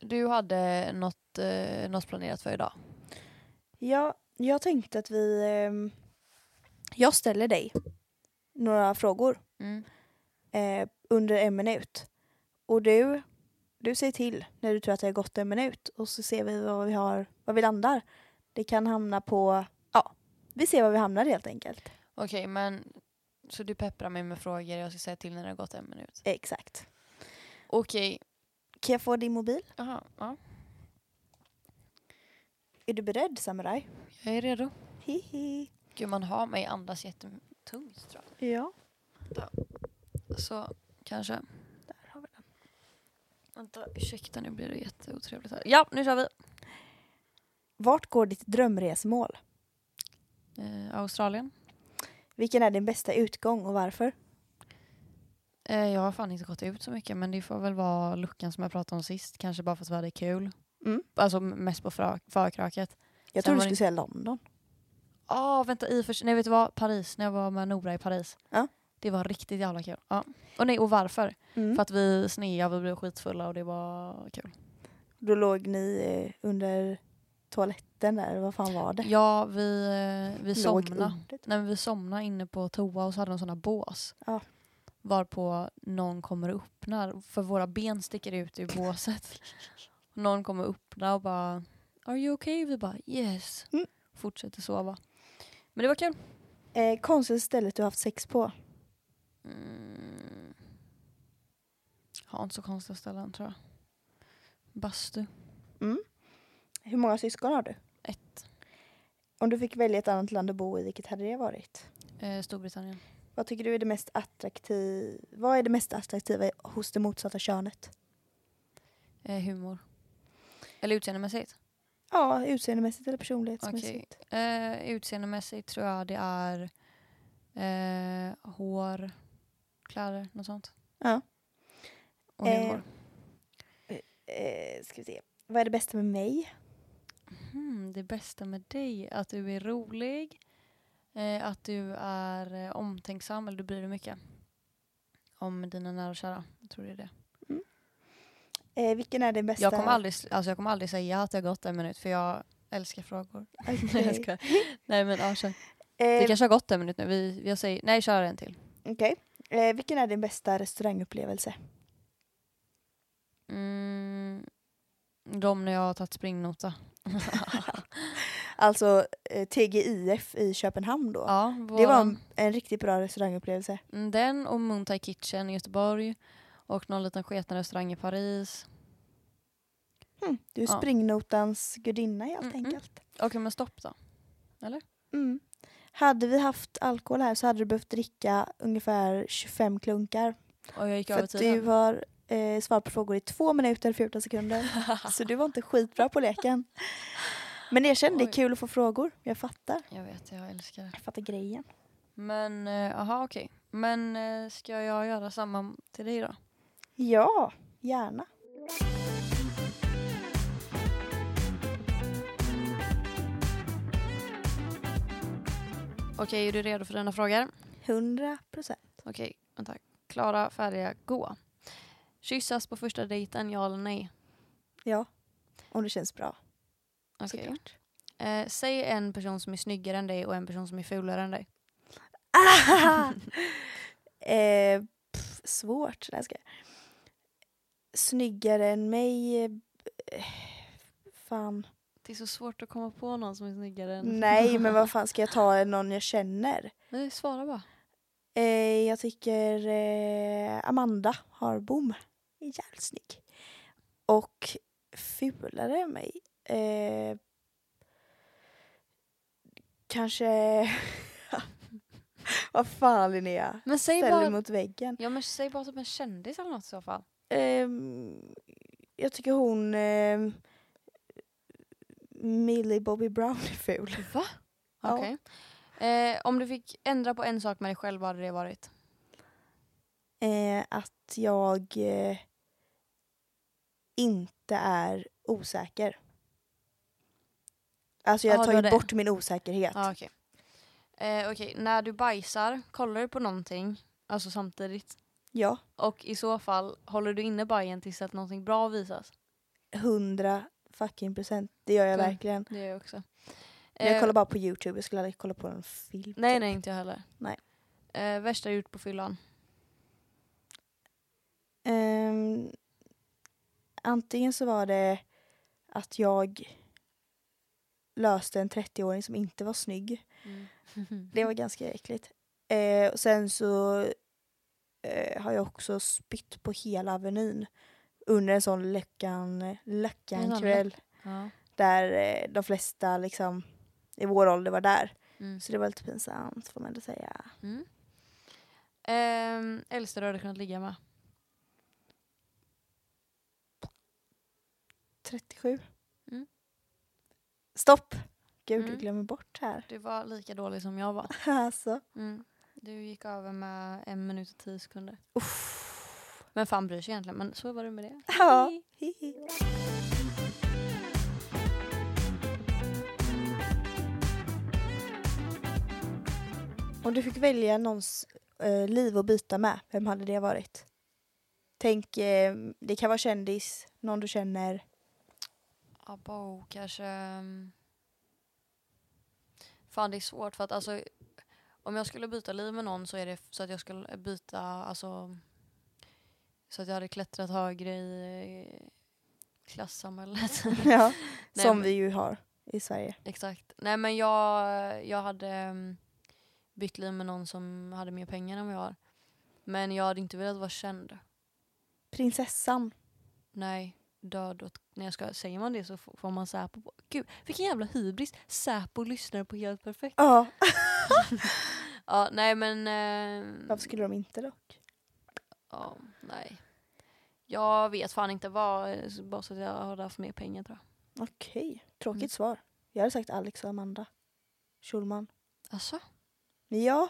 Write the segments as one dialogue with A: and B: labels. A: du hade något, eh, något planerat för idag.
B: Ja, jag tänkte att vi... ehm, jag ställer dig några frågor eh, under en minut. Och du, du säger till när du tror att det har gått en minut och så ser vi vad vi, har, vad vi landar. Det kan hamna på... Ja, vi ser var vi hamnar helt enkelt.
A: Okej, men så du pepprar mig med frågor. Jag ska säga till när det har gått en minut.
B: Exakt.
A: Okej.
B: Kan jag få din mobil?
A: Jaha, ja.
B: Är du beredd, samuraj?
A: Jag är redo.
B: Hihi.
A: Gud, man har mig andas jättetungt tror
B: Ja.
A: jag. Så kanske.
B: Där har vi den.
A: Vänta, ursäkta nu blir det jätteotrevligt här. Ja, nu kör vi.
B: Vart går ditt drömresmål?
A: Eh, Australien.
B: Vilken är din bästa utgång och varför?
A: Eh, jag har fan inte gått ut så mycket men det får väl vara luckan som jag pratade om sist. Kanske bara för att vi hade kul.
B: Mm.
A: Alltså m- mest på fra- förkraket.
B: Jag
A: Sen
B: trodde
A: var
B: du
A: det
B: skulle
A: inte-
B: säga London.
A: Ja, vänta i och för sig. Nej, vet du vad? Paris. När jag var med Nora i Paris.
B: Ja.
A: Det var riktigt jävla kul. Ja. Och nej, och varför?
B: Mm.
A: För att vi sneade, vi blev skitfulla och det var kul.
B: Då låg ni eh, under toaletten där, vad fan var det?
A: Ja, vi, eh, vi
B: Låg
A: somnade.
B: under.
A: Nej, men vi somnade inne på toa och så hade de sådana bås.
B: Ja.
A: Varpå någon kommer och öppnar, för våra ben sticker ut ur båset. någon kommer och öppnar och bara Are you okay? Vi bara yes.
B: Mm.
A: Fortsätter sova. Men det var kul.
B: Eh, konstigaste stället du har haft sex på?
A: Mm. Har inte så konstiga ställen tror jag. Bastu.
B: Hur många syskon har du?
A: Ett.
B: Om du fick välja ett annat land att bo i, vilket hade det varit?
A: Eh, Storbritannien.
B: Vad tycker du är det mest attraktiva? Vad är det mest attraktiva hos det motsatta könet?
A: Eh, humor. Eller utseendemässigt.
B: Ja, utseendemässigt eller personlighetsmässigt.
A: Eh, utseendemässigt tror jag det är eh, hår, kläder, något sånt.
B: Ja.
A: Och
B: Eh.
A: humor.
B: Eh, ska vi se. Vad är det bästa med mig?
A: Hmm, det bästa med dig, att du är rolig, eh, att du är eh, omtänksam, eller du bryr dig mycket om dina nära och kära. Jag tror det är det.
B: Eh, vilken är din bästa?
A: Jag kommer, aldrig, sl- alltså jag kommer aldrig säga att det har gått en minut, för jag älskar frågor. Nej, jag
B: Okej.
A: skojar. Nej men ja, kör.
B: Eh,
A: Det kanske har gått en minut nu. Vi, jag säger, nej, kör en till.
B: Okej. Eh, vilken är din bästa restaurangupplevelse?
A: Mm, de när jag har tagit springnota.
B: Alltså eh, TGIF i Köpenhamn då.
A: Ja,
B: Det var
A: våran-
B: en, en riktigt bra restaurangupplevelse.
A: Mm, Den och Moon Thai Kitchen i Göteborg. Och någon liten sketen restaurang i Paris.
B: Du är
A: Ja.
B: springnotans gudinna helt
A: Mm, mm.
B: enkelt.
A: Okej men stopp då.
B: Mm. Hade vi haft alkohol här så hade du behövt dricka ungefär 25 klunkar.
A: Och jag gick
B: För
A: över
B: att du
A: tiden.
B: har eh, svarat på frågor i två minuter och 14 sekunder. så du var inte skitbra på leken. Men erkänn, det
A: Oj.
B: är kul att få frågor. Jag fattar.
A: Jag vet, jag älskar det.
B: Jag fattar grejen.
A: Men eh, aha okej. Men eh, ska jag göra samma till dig då?
B: Ja, gärna.
A: Okej, är du redo för dina frågor?
B: 100 procent.
A: Okej, vänta. Klara, färdiga, gå. Kyssas på första dejten, ja eller nej?
B: Ja, om det känns bra
A: Okej.
B: såklart.
A: Eh, säg en person som är snyggare än dig och en person som är fulare än dig.
B: Ah! eh, pff, svårt. Nej, jag skojar. Snyggare än mig. eh, Eh, fan.
A: Det är så svårt att komma på någon som är snyggare än...
B: Nej, men vad fan ska jag ta någon jag känner?
A: Nej, svara bara.
B: Eh, jag tycker eh, Amanda Harbom är jävligt snygg. Och fulare än mig. Eh, kanske... vad fan Linnea?
A: Men säg
B: Ställ dig
A: bara...
B: mot väggen.
A: Ja men säg bara typ en kändis eller något i så fall.
B: Ehm, jag tycker hon... ehm, Millie Bobby Brown är ful.
A: Va?
B: Ja.
A: Okej. Eh, om du fick ändra på en sak med dig själv, vad hade det varit?
B: Eh, att jag eh, inte är osäker. Alltså jag
A: Ja,
B: har
A: det var
B: tagit
A: det.
B: bort min osäkerhet.
A: Ah, Okej, eh, okej. när du bajsar, kollar du på någonting? Alltså samtidigt.
B: Ja,
A: Och i så fall, håller du inne bajen tills att någonting bra visas?
B: hundra fucking procent. Det gör jag
A: Mm.
B: verkligen.
A: Det gör jag också.
B: Jag
A: Eh,
B: kollar bara på Youtube, jag skulle aldrig kolla på en film.
A: Nej,
B: typ.
A: nej, inte jag heller.
B: Nej.
A: Eh, värsta jag gjort på fyllan?
B: Ehm, antingen så var det att jag löste en 30-åring som inte var snygg.
A: Mm.
B: Det var ganska äckligt. Eh, och sen så eh, har jag också spytt på hela Avenyn under en sån läckan,
A: En
B: läckan
A: sån
B: kväll
A: Ja.
B: där eh, de flesta liksom i vår ålder var där.
A: Mm.
B: Så det var lite pinsamt får man ändå säga.
A: Mm. Ehm, äldsta du hade kunnat ligga med?
B: 37.
A: Mm.
B: Stopp! Gud,
A: Mm.
B: du glömmer bort här.
A: Du var lika dålig som jag var.
B: alltså.
A: Mm. Du gick över med en minut och tio sekunder.
B: Uff.
A: Men fan bryr sig egentligen, men så var det med det.
B: Ja.
A: Hej.
B: Hihi. Om du fick välja någons eh, liv att byta med, vem hade det varit? Tänk, eh, det kan vara kändis, någon du känner.
A: Abo, kanske... ehm, Fan det är svårt för att alltså om jag skulle byta liv med någon så är det f- så att jag skulle byta alltså så att jag hade klättrat högre i eh, klassamhället.
B: ja.
A: Nej,
B: Som
A: men-
B: vi ju har i Sverige.
A: Exakt. Nej men jag, jag hade ehm, bytt liv med någon som hade mer pengar än vad jag har. Men jag hade inte velat vara känd.
B: Prinsessan.
A: Nej, död åt... När jag ska, säger man det så f- får man Säpo på... Gud, vilken jävla hybris! Säpo lyssnar på Helt Perfekt.
B: Ja.
A: Ja, nej men... ehm,
B: Varför skulle de inte dock?
A: ja, nej. Jag vet fan inte vad, eh, bara så att jag hade haft mer pengar tror jag.
B: Okej, tråkigt
A: Mm.
B: svar. Jag hade sagt Alex och Amanda Schulman.
A: Alltså?
B: Men ja,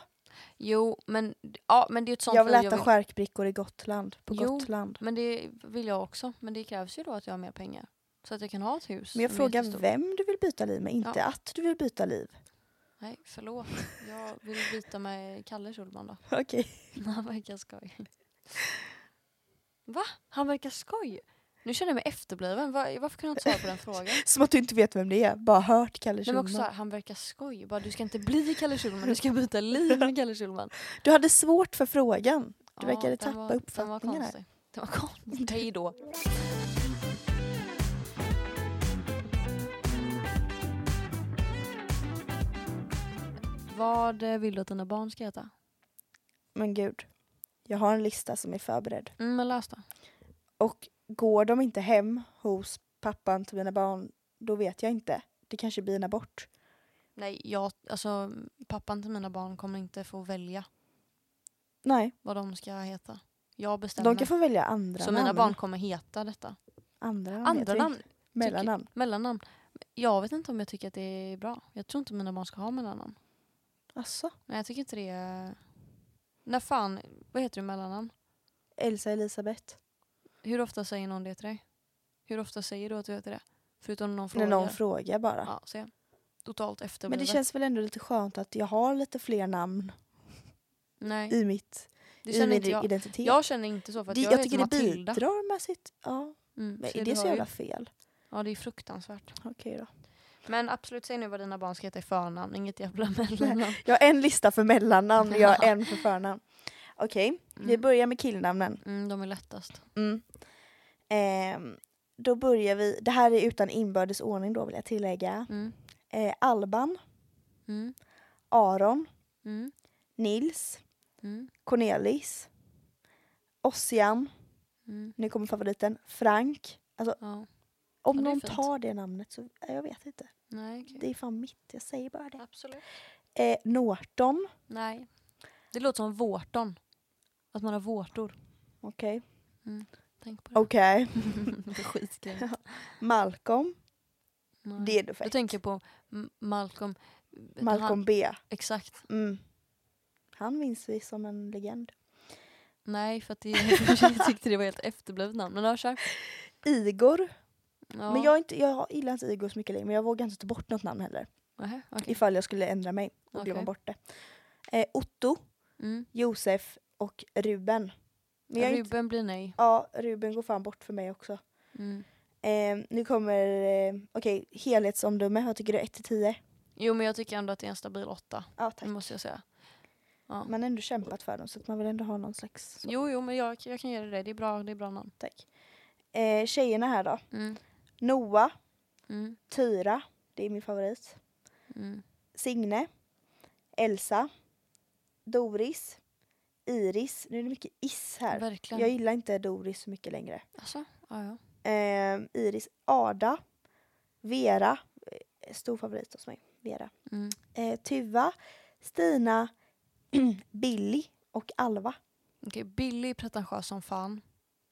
A: Jo, men, ja, men det är ett sånt
B: jag vill
A: liv
B: äta skärkbrickor i Gotland. På
A: Jo,
B: Gotland.
A: Men det vill jag också. Men det krävs ju då att jag har mer pengar. Så att jag kan ha ett hus.
B: Men jag
A: som är
B: frågar
A: jättestort.
B: vem du vill byta liv med, inte att du vill byta liv.
A: Nej, förlåt. Jag vill byta med Kalle Schulman då.
B: Okej.
A: Han verkar skoj. Va? Han verkar skoj? Nu känner jag mig efterbliven. Var, varför kunde jag inte svara på den frågan?
B: Som att du inte vet vem det är, bara hört
A: Nej,
B: Kalle
A: men
B: Schulman.
A: också, så här, han verkar skoj. Bara, du ska inte bli Kalle Schulman, du ska byta liv med Kalle Schulman.
B: Du hade svårt för frågan. Du verkade
A: den
B: tappa
A: var- Den var
B: uppfattningen här.
A: konstig. Den var konstig. Hej då. Vad eh, vill du att dina barn ska heta?
B: Men gud, jag har en lista som är förberedd.
A: Mm, men läs då.
B: Och går de inte hem hos pappan till mina barn, då vet jag inte. Det kanske blir en abort.
A: Nej, jag, alltså, pappan till mina barn kommer inte få välja
B: Nej,
A: vad de ska heta. Jag bestämmer.
B: de kan få välja andra
A: så
B: namn.
A: mina barn kommer heta detta.
B: Andra namn.
A: Andra
B: heter det.
A: namn,
B: Mellannamn.
A: mellannamn. Jag vet inte om jag tycker att det är bra. Jag tror inte mina barn ska ha mellannamn.
B: Asså?
A: Nej, jag tycker inte det är... När fan, vad heter du i mellannamn?
B: Elsa Elisabeth.
A: Hur ofta säger någon det till dig? Hur ofta säger du att du heter det? Förutom när någon
B: När
A: frågar.
B: någon frågar bara.
A: ja, se. Totalt
B: Men det
A: efterblivet.
B: känns väl ändå lite skönt att jag har lite fler namn
A: Nej,
B: i, mitt,
A: Mm. det
B: i
A: känner
B: min
A: inte jag.
B: identitet.
A: Jag känner inte så för att
B: det,
A: jag,
B: jag,
A: heter
B: tycker det
A: Matilda.
B: bidrar med sitt... Ja,
A: Mm,
B: men
A: så
B: är
A: du
B: det så
A: har ju-
B: jävla fel?
A: Ja, det är fruktansvärt.
B: Okej då.
A: Men absolut, säg nu vad dina barn ska heta i förnamn, inget jävla mellannamn.
B: Jag har en lista för mellannamn och jag har en för förnamn. Okej, vi
A: Mm.
B: börjar med killnamnen.
A: Mm, de är lättast.
B: Mm. Ehm, då börjar vi, det här är utan inbördes ordning då vill jag tillägga.
A: Mm,
B: Eh, Alban,
A: mm,
B: Aron,
A: mm,
B: Nils,
A: mm,
B: Cornelis, Ossian,
A: mm.
B: nu kommer favoriten, Frank. Alltså
A: Ja,
B: om
A: Ja, det är
B: någon
A: fint.
B: tar det namnet så, ja, jag vet inte.
A: nej, okej.
B: Det är fan mitt, jag säger bara det.
A: Absolut.
B: Eh, Norton,
A: Nej. Det låter som vårton. Att man har vårtor.
B: okej.
A: Tänk på det.
B: Okej.
A: det är skitgrej.
B: Malcolm,
A: Nej.
B: det är
A: Mm.
B: du
A: Jag
B: fett.
A: tänker på M- Malcolm.
B: Malcolm
A: Han,
B: B.
A: exakt.
B: Mm. Han minns vi som en legend.
A: Nej, för att det, jag tyckte det var helt efterblivet namn. Men ja, kör.
B: Igor,
A: Ja.
B: men jag, är inte, jag gillar inte Igor så mycket längre men jag vågar inte ta bort något namn heller.
A: Nähä, okej.
B: Ifall jag skulle ändra mig och glömma
A: Okej.
B: bort det. Eh, Otto,
A: Mm.
B: Josef och Ruben. Men jag är inte,
A: Ruben blir nej.
B: ja, Ruben går fan bort för mig också.
A: Mm.
B: Eh, nu kommer, eh, okej, helhetsomdöme. Vad tycker du? 1 till 10?
A: Jo men jag tycker ändå att det är en stabil åtta.
B: Ja,
A: Det
B: tack.
A: måste jag säga. Ja.
B: Man har ändå kämpat för dem så att man vill ändå ha någon slags...
A: Jo, jo men jag, jag kan ge dig det. Det är bra, det är bra namn.
B: Tack. Eh, tjejerna här då.
A: Mm,
B: Noah,
A: mm,
B: Tyra, det är min favorit.
A: mm.
B: Signe, Elsa, Doris, Iris. Nu är det mycket is här.
A: Verkligen.
B: Jag gillar inte Doris så mycket längre.
A: Alltså, ja, ja.
B: Eh, Iris, Ada, Vera, eh, stor favorit hos mig, Vera.
A: Mm.
B: Eh, Tuva, Stina, Billy och Alva.
A: Okej, Billy är pretentiös som fan.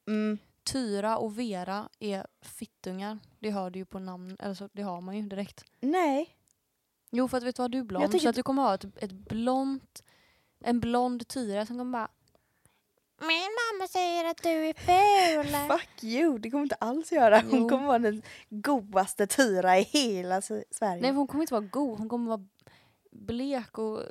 B: Mm.
A: Tyra och Vera är fittungar. Det hör du ju på namn, eller så, det har man ju direkt.
B: Nej,
A: Jo för att vet du vad, du är
B: Jag
A: blond.
B: tycker
A: Så att du kommer ha ett, ett blont, en blond Tyra som kommer bara Min mamma säger att du är ful.
B: fuck you, det kommer inte alls göra. Hon
A: Jo.
B: kommer vara den godaste Tyra i hela S- Sverige.
A: Nej för hon kommer inte vara god, hon kommer vara blek och...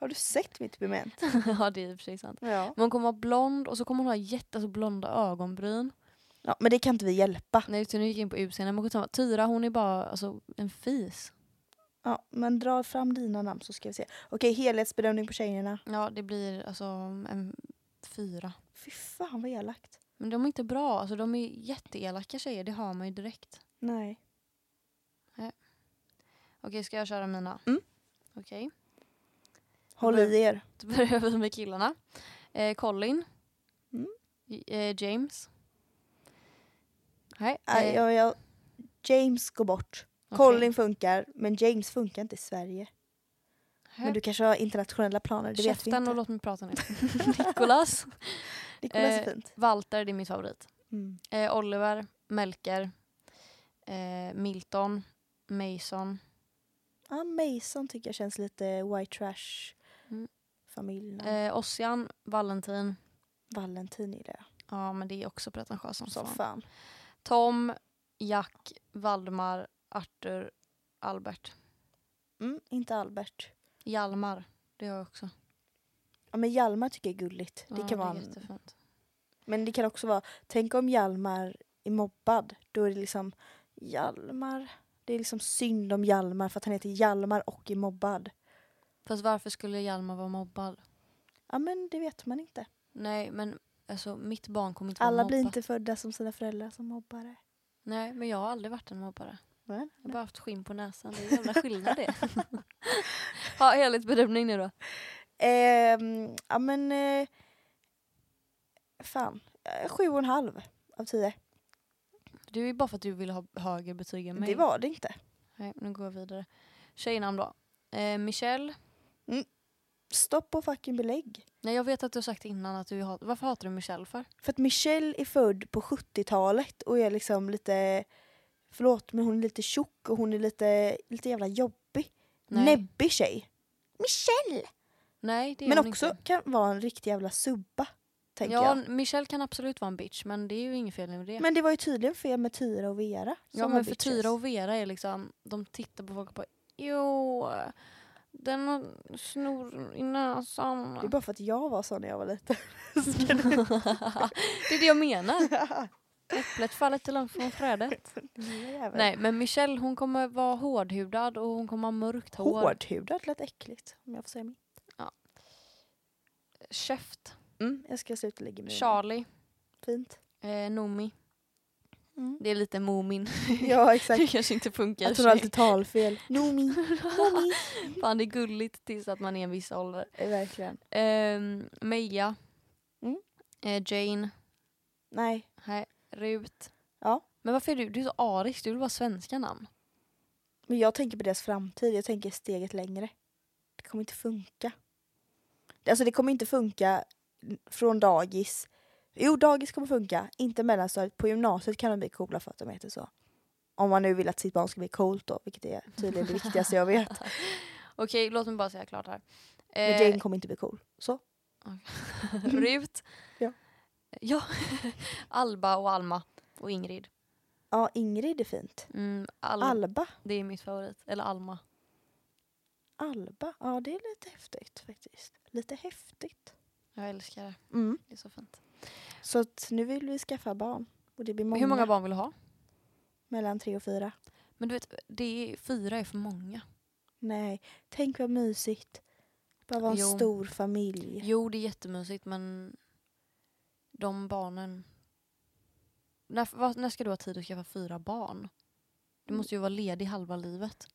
B: Har du sett mitt pigment?
A: ja det är i och för sig sant.
B: Ja.
A: Men hon kommer vara blond och så kommer hon ha jätte, alltså, blonda ögonbryn.
B: ja. Men det kan inte vi hjälpa.
A: Nej utan nu gick jag in på utseende men skitsamma. Tyra hon är bara alltså, en fis.
B: Ja, men dra fram dina namn så ska vi se. Okej, helhetsbedömning på tjejerna.
A: Ja det blir alltså en fyra.
B: Fy fan vad elakt.
A: Men de är inte bra, alltså de är jätteelaka tjejer, det har man ju direkt.
B: Nej.
A: Okej, ska jag köra mina?
B: Mm.
A: Okej,
B: Håll i er. Äh,
A: då börjar vi med killarna. Eh, Colin.
B: Mm.
A: J- Eh, James. Nej, eh,
B: Nej, jag, jag, James går bort.
A: okej.
B: Colin funkar, men James funkar inte i Sverige.
A: Nej,
B: Men du kanske har internationella planer, det vet vi
A: Käften och
B: inte.
A: låt mig prata nu. Nicolas.
B: Nicolas är
A: eh,
B: fint.
A: Walter, det är min favorit.
B: Mm.
A: Eh, Oliver. Melker. Eh, Milton. Mason.
B: Ja, Mason tycker jag känns lite white trash.
A: Mm.
B: Familj.
A: Eh, Ossian. Valentin.
B: Valentin gillar jag.
A: Ja, men det är också pretentiöst som
B: Som
A: fan.
B: fan.
A: Tom. Jack. Valdemar. Arthur. Albert.
B: Mm, inte Albert.
A: Hjalmar, det har jag också.
B: Ja, men Hjalmar tycker jag är gulligt. Det
A: Ja,
B: kan vara
A: det är
B: en-
A: jättefint.
B: Men det kan också vara, tänk om Hjalmar är mobbad. Då är det liksom Hjalmar. Det är liksom synd om Hjalmar för att han heter Hjalmar och är mobbad.
A: Fast varför skulle Hjalmar vara mobbad?
B: Ja men det vet man inte.
A: Nej, men alltså, mitt barn kommer inte vara
B: Alla blir
A: mobbat.
B: inte födda som sina föräldrar som mobbare.
A: Nej, men jag har aldrig varit en mobbare.
B: Men,
A: Jag har bara haft skinn på näsan. Det är en jävla skillnad det. ja, helhetsbedömning nu då.
B: ehm, ja men, eh, fan. Eh, Sju och en halv av tio.
A: Du är bara för att du vill ha högre betyg än mig.
B: Det var det inte.
A: Nej, nu går jag vidare. Tjejnamn då. Eh, Michelle.
B: Stopp och fucking belägg.
A: Nej, jag vet att du har sagt innan att du hatar... Varför hatar du Michelle för?
B: För att Michelle är född på 70-talet och är liksom lite, förlåt men hon är lite tjock och hon är lite, lite jävla jobbig.
A: Nej.
B: Näbbig tjej. Michelle!
A: Nej, det är
B: Men
A: hon
B: också
A: inte.
B: kan vara en riktig jävla subba. Tänker
A: Ja,
B: jag.
A: Michelle kan absolut vara en bitch, men det är ju inget fel med det.
B: Men det var ju tydligen fel med Tyra och Vera.
A: Ja
B: som var
A: men för
B: bitches.
A: Tyra och Vera är liksom, de tittar på folk och bara Jo, den har snor i näsan.
B: Det är bara för att jag var sån när jag var liten.
A: det är det jag menar. Äpplet faller inte långt från trädet.
B: Lilla jävel.
A: Nej men Michelle hon kommer vara hårdhudad och hon kommer ha mörkt hår.
B: Hårdhudad lät äckligt om jag får säga mitt.
A: Käft.
B: Mm, jag ska sluta lägga mig i det.
A: Charlie.
B: Fint.
A: Eh, Nomi.
B: Mm.
A: Det är lite Moomin.
B: Ja
A: det
B: exakt.
A: kanske inte funkar. i
B: Att
A: och för
B: hon
A: sig.
B: alltid talfel. Nomi. Nomi.
A: Fan det är gulligt tills att man är en viss ålder.
B: Eh, Verkligen.
A: Eh, Meja.
B: Mm.
A: Eh, Jane.
B: Nej.
A: Nej, Rut.
B: Ja.
A: Men varför är du, du är så arisk, du vill bara ha svenska namn.
B: Men jag tänker på deras framtid, jag tänker steget längre. Det kommer inte funka. Alltså det kommer inte funka från dagis. Jo, dagis kommer funka, inte mellanstadiet. På gymnasiet kan de bli coola för att de heter så. Om man nu vill att sitt barn ska bli coolt då, vilket är tydligen det viktigaste jag vet.
A: Okej, låt mig bara säga klart här.
B: Men
A: Eh,
B: Jane kommer inte bli cool. Så.
A: Rut.
B: Ja.
A: Ja. Alba och Alma. Och Ingrid.
B: Ja, Ingrid är fint.
A: Mm, Al-
B: Alba.
A: det är mitt favorit. Eller Alma.
B: Alba, ja det är lite häftigt faktiskt. Lite häftigt.
A: Jag älskar det.
B: Mm.
A: Det är så fint.
B: Så att nu vill vi skaffa barn. Och det blir många.
A: Hur många barn vill du ha?
B: Mellan tre och fyra.
A: Men du vet, det är, fyra är för många.
B: Nej, tänk vad mysigt. Bara vara en
A: Jo.
B: stor familj.
A: Jo, det är jättemysigt men de barnen... När, vad- när ska du ha tid att skaffa fyra barn? Du måste ju vara ledig halva livet.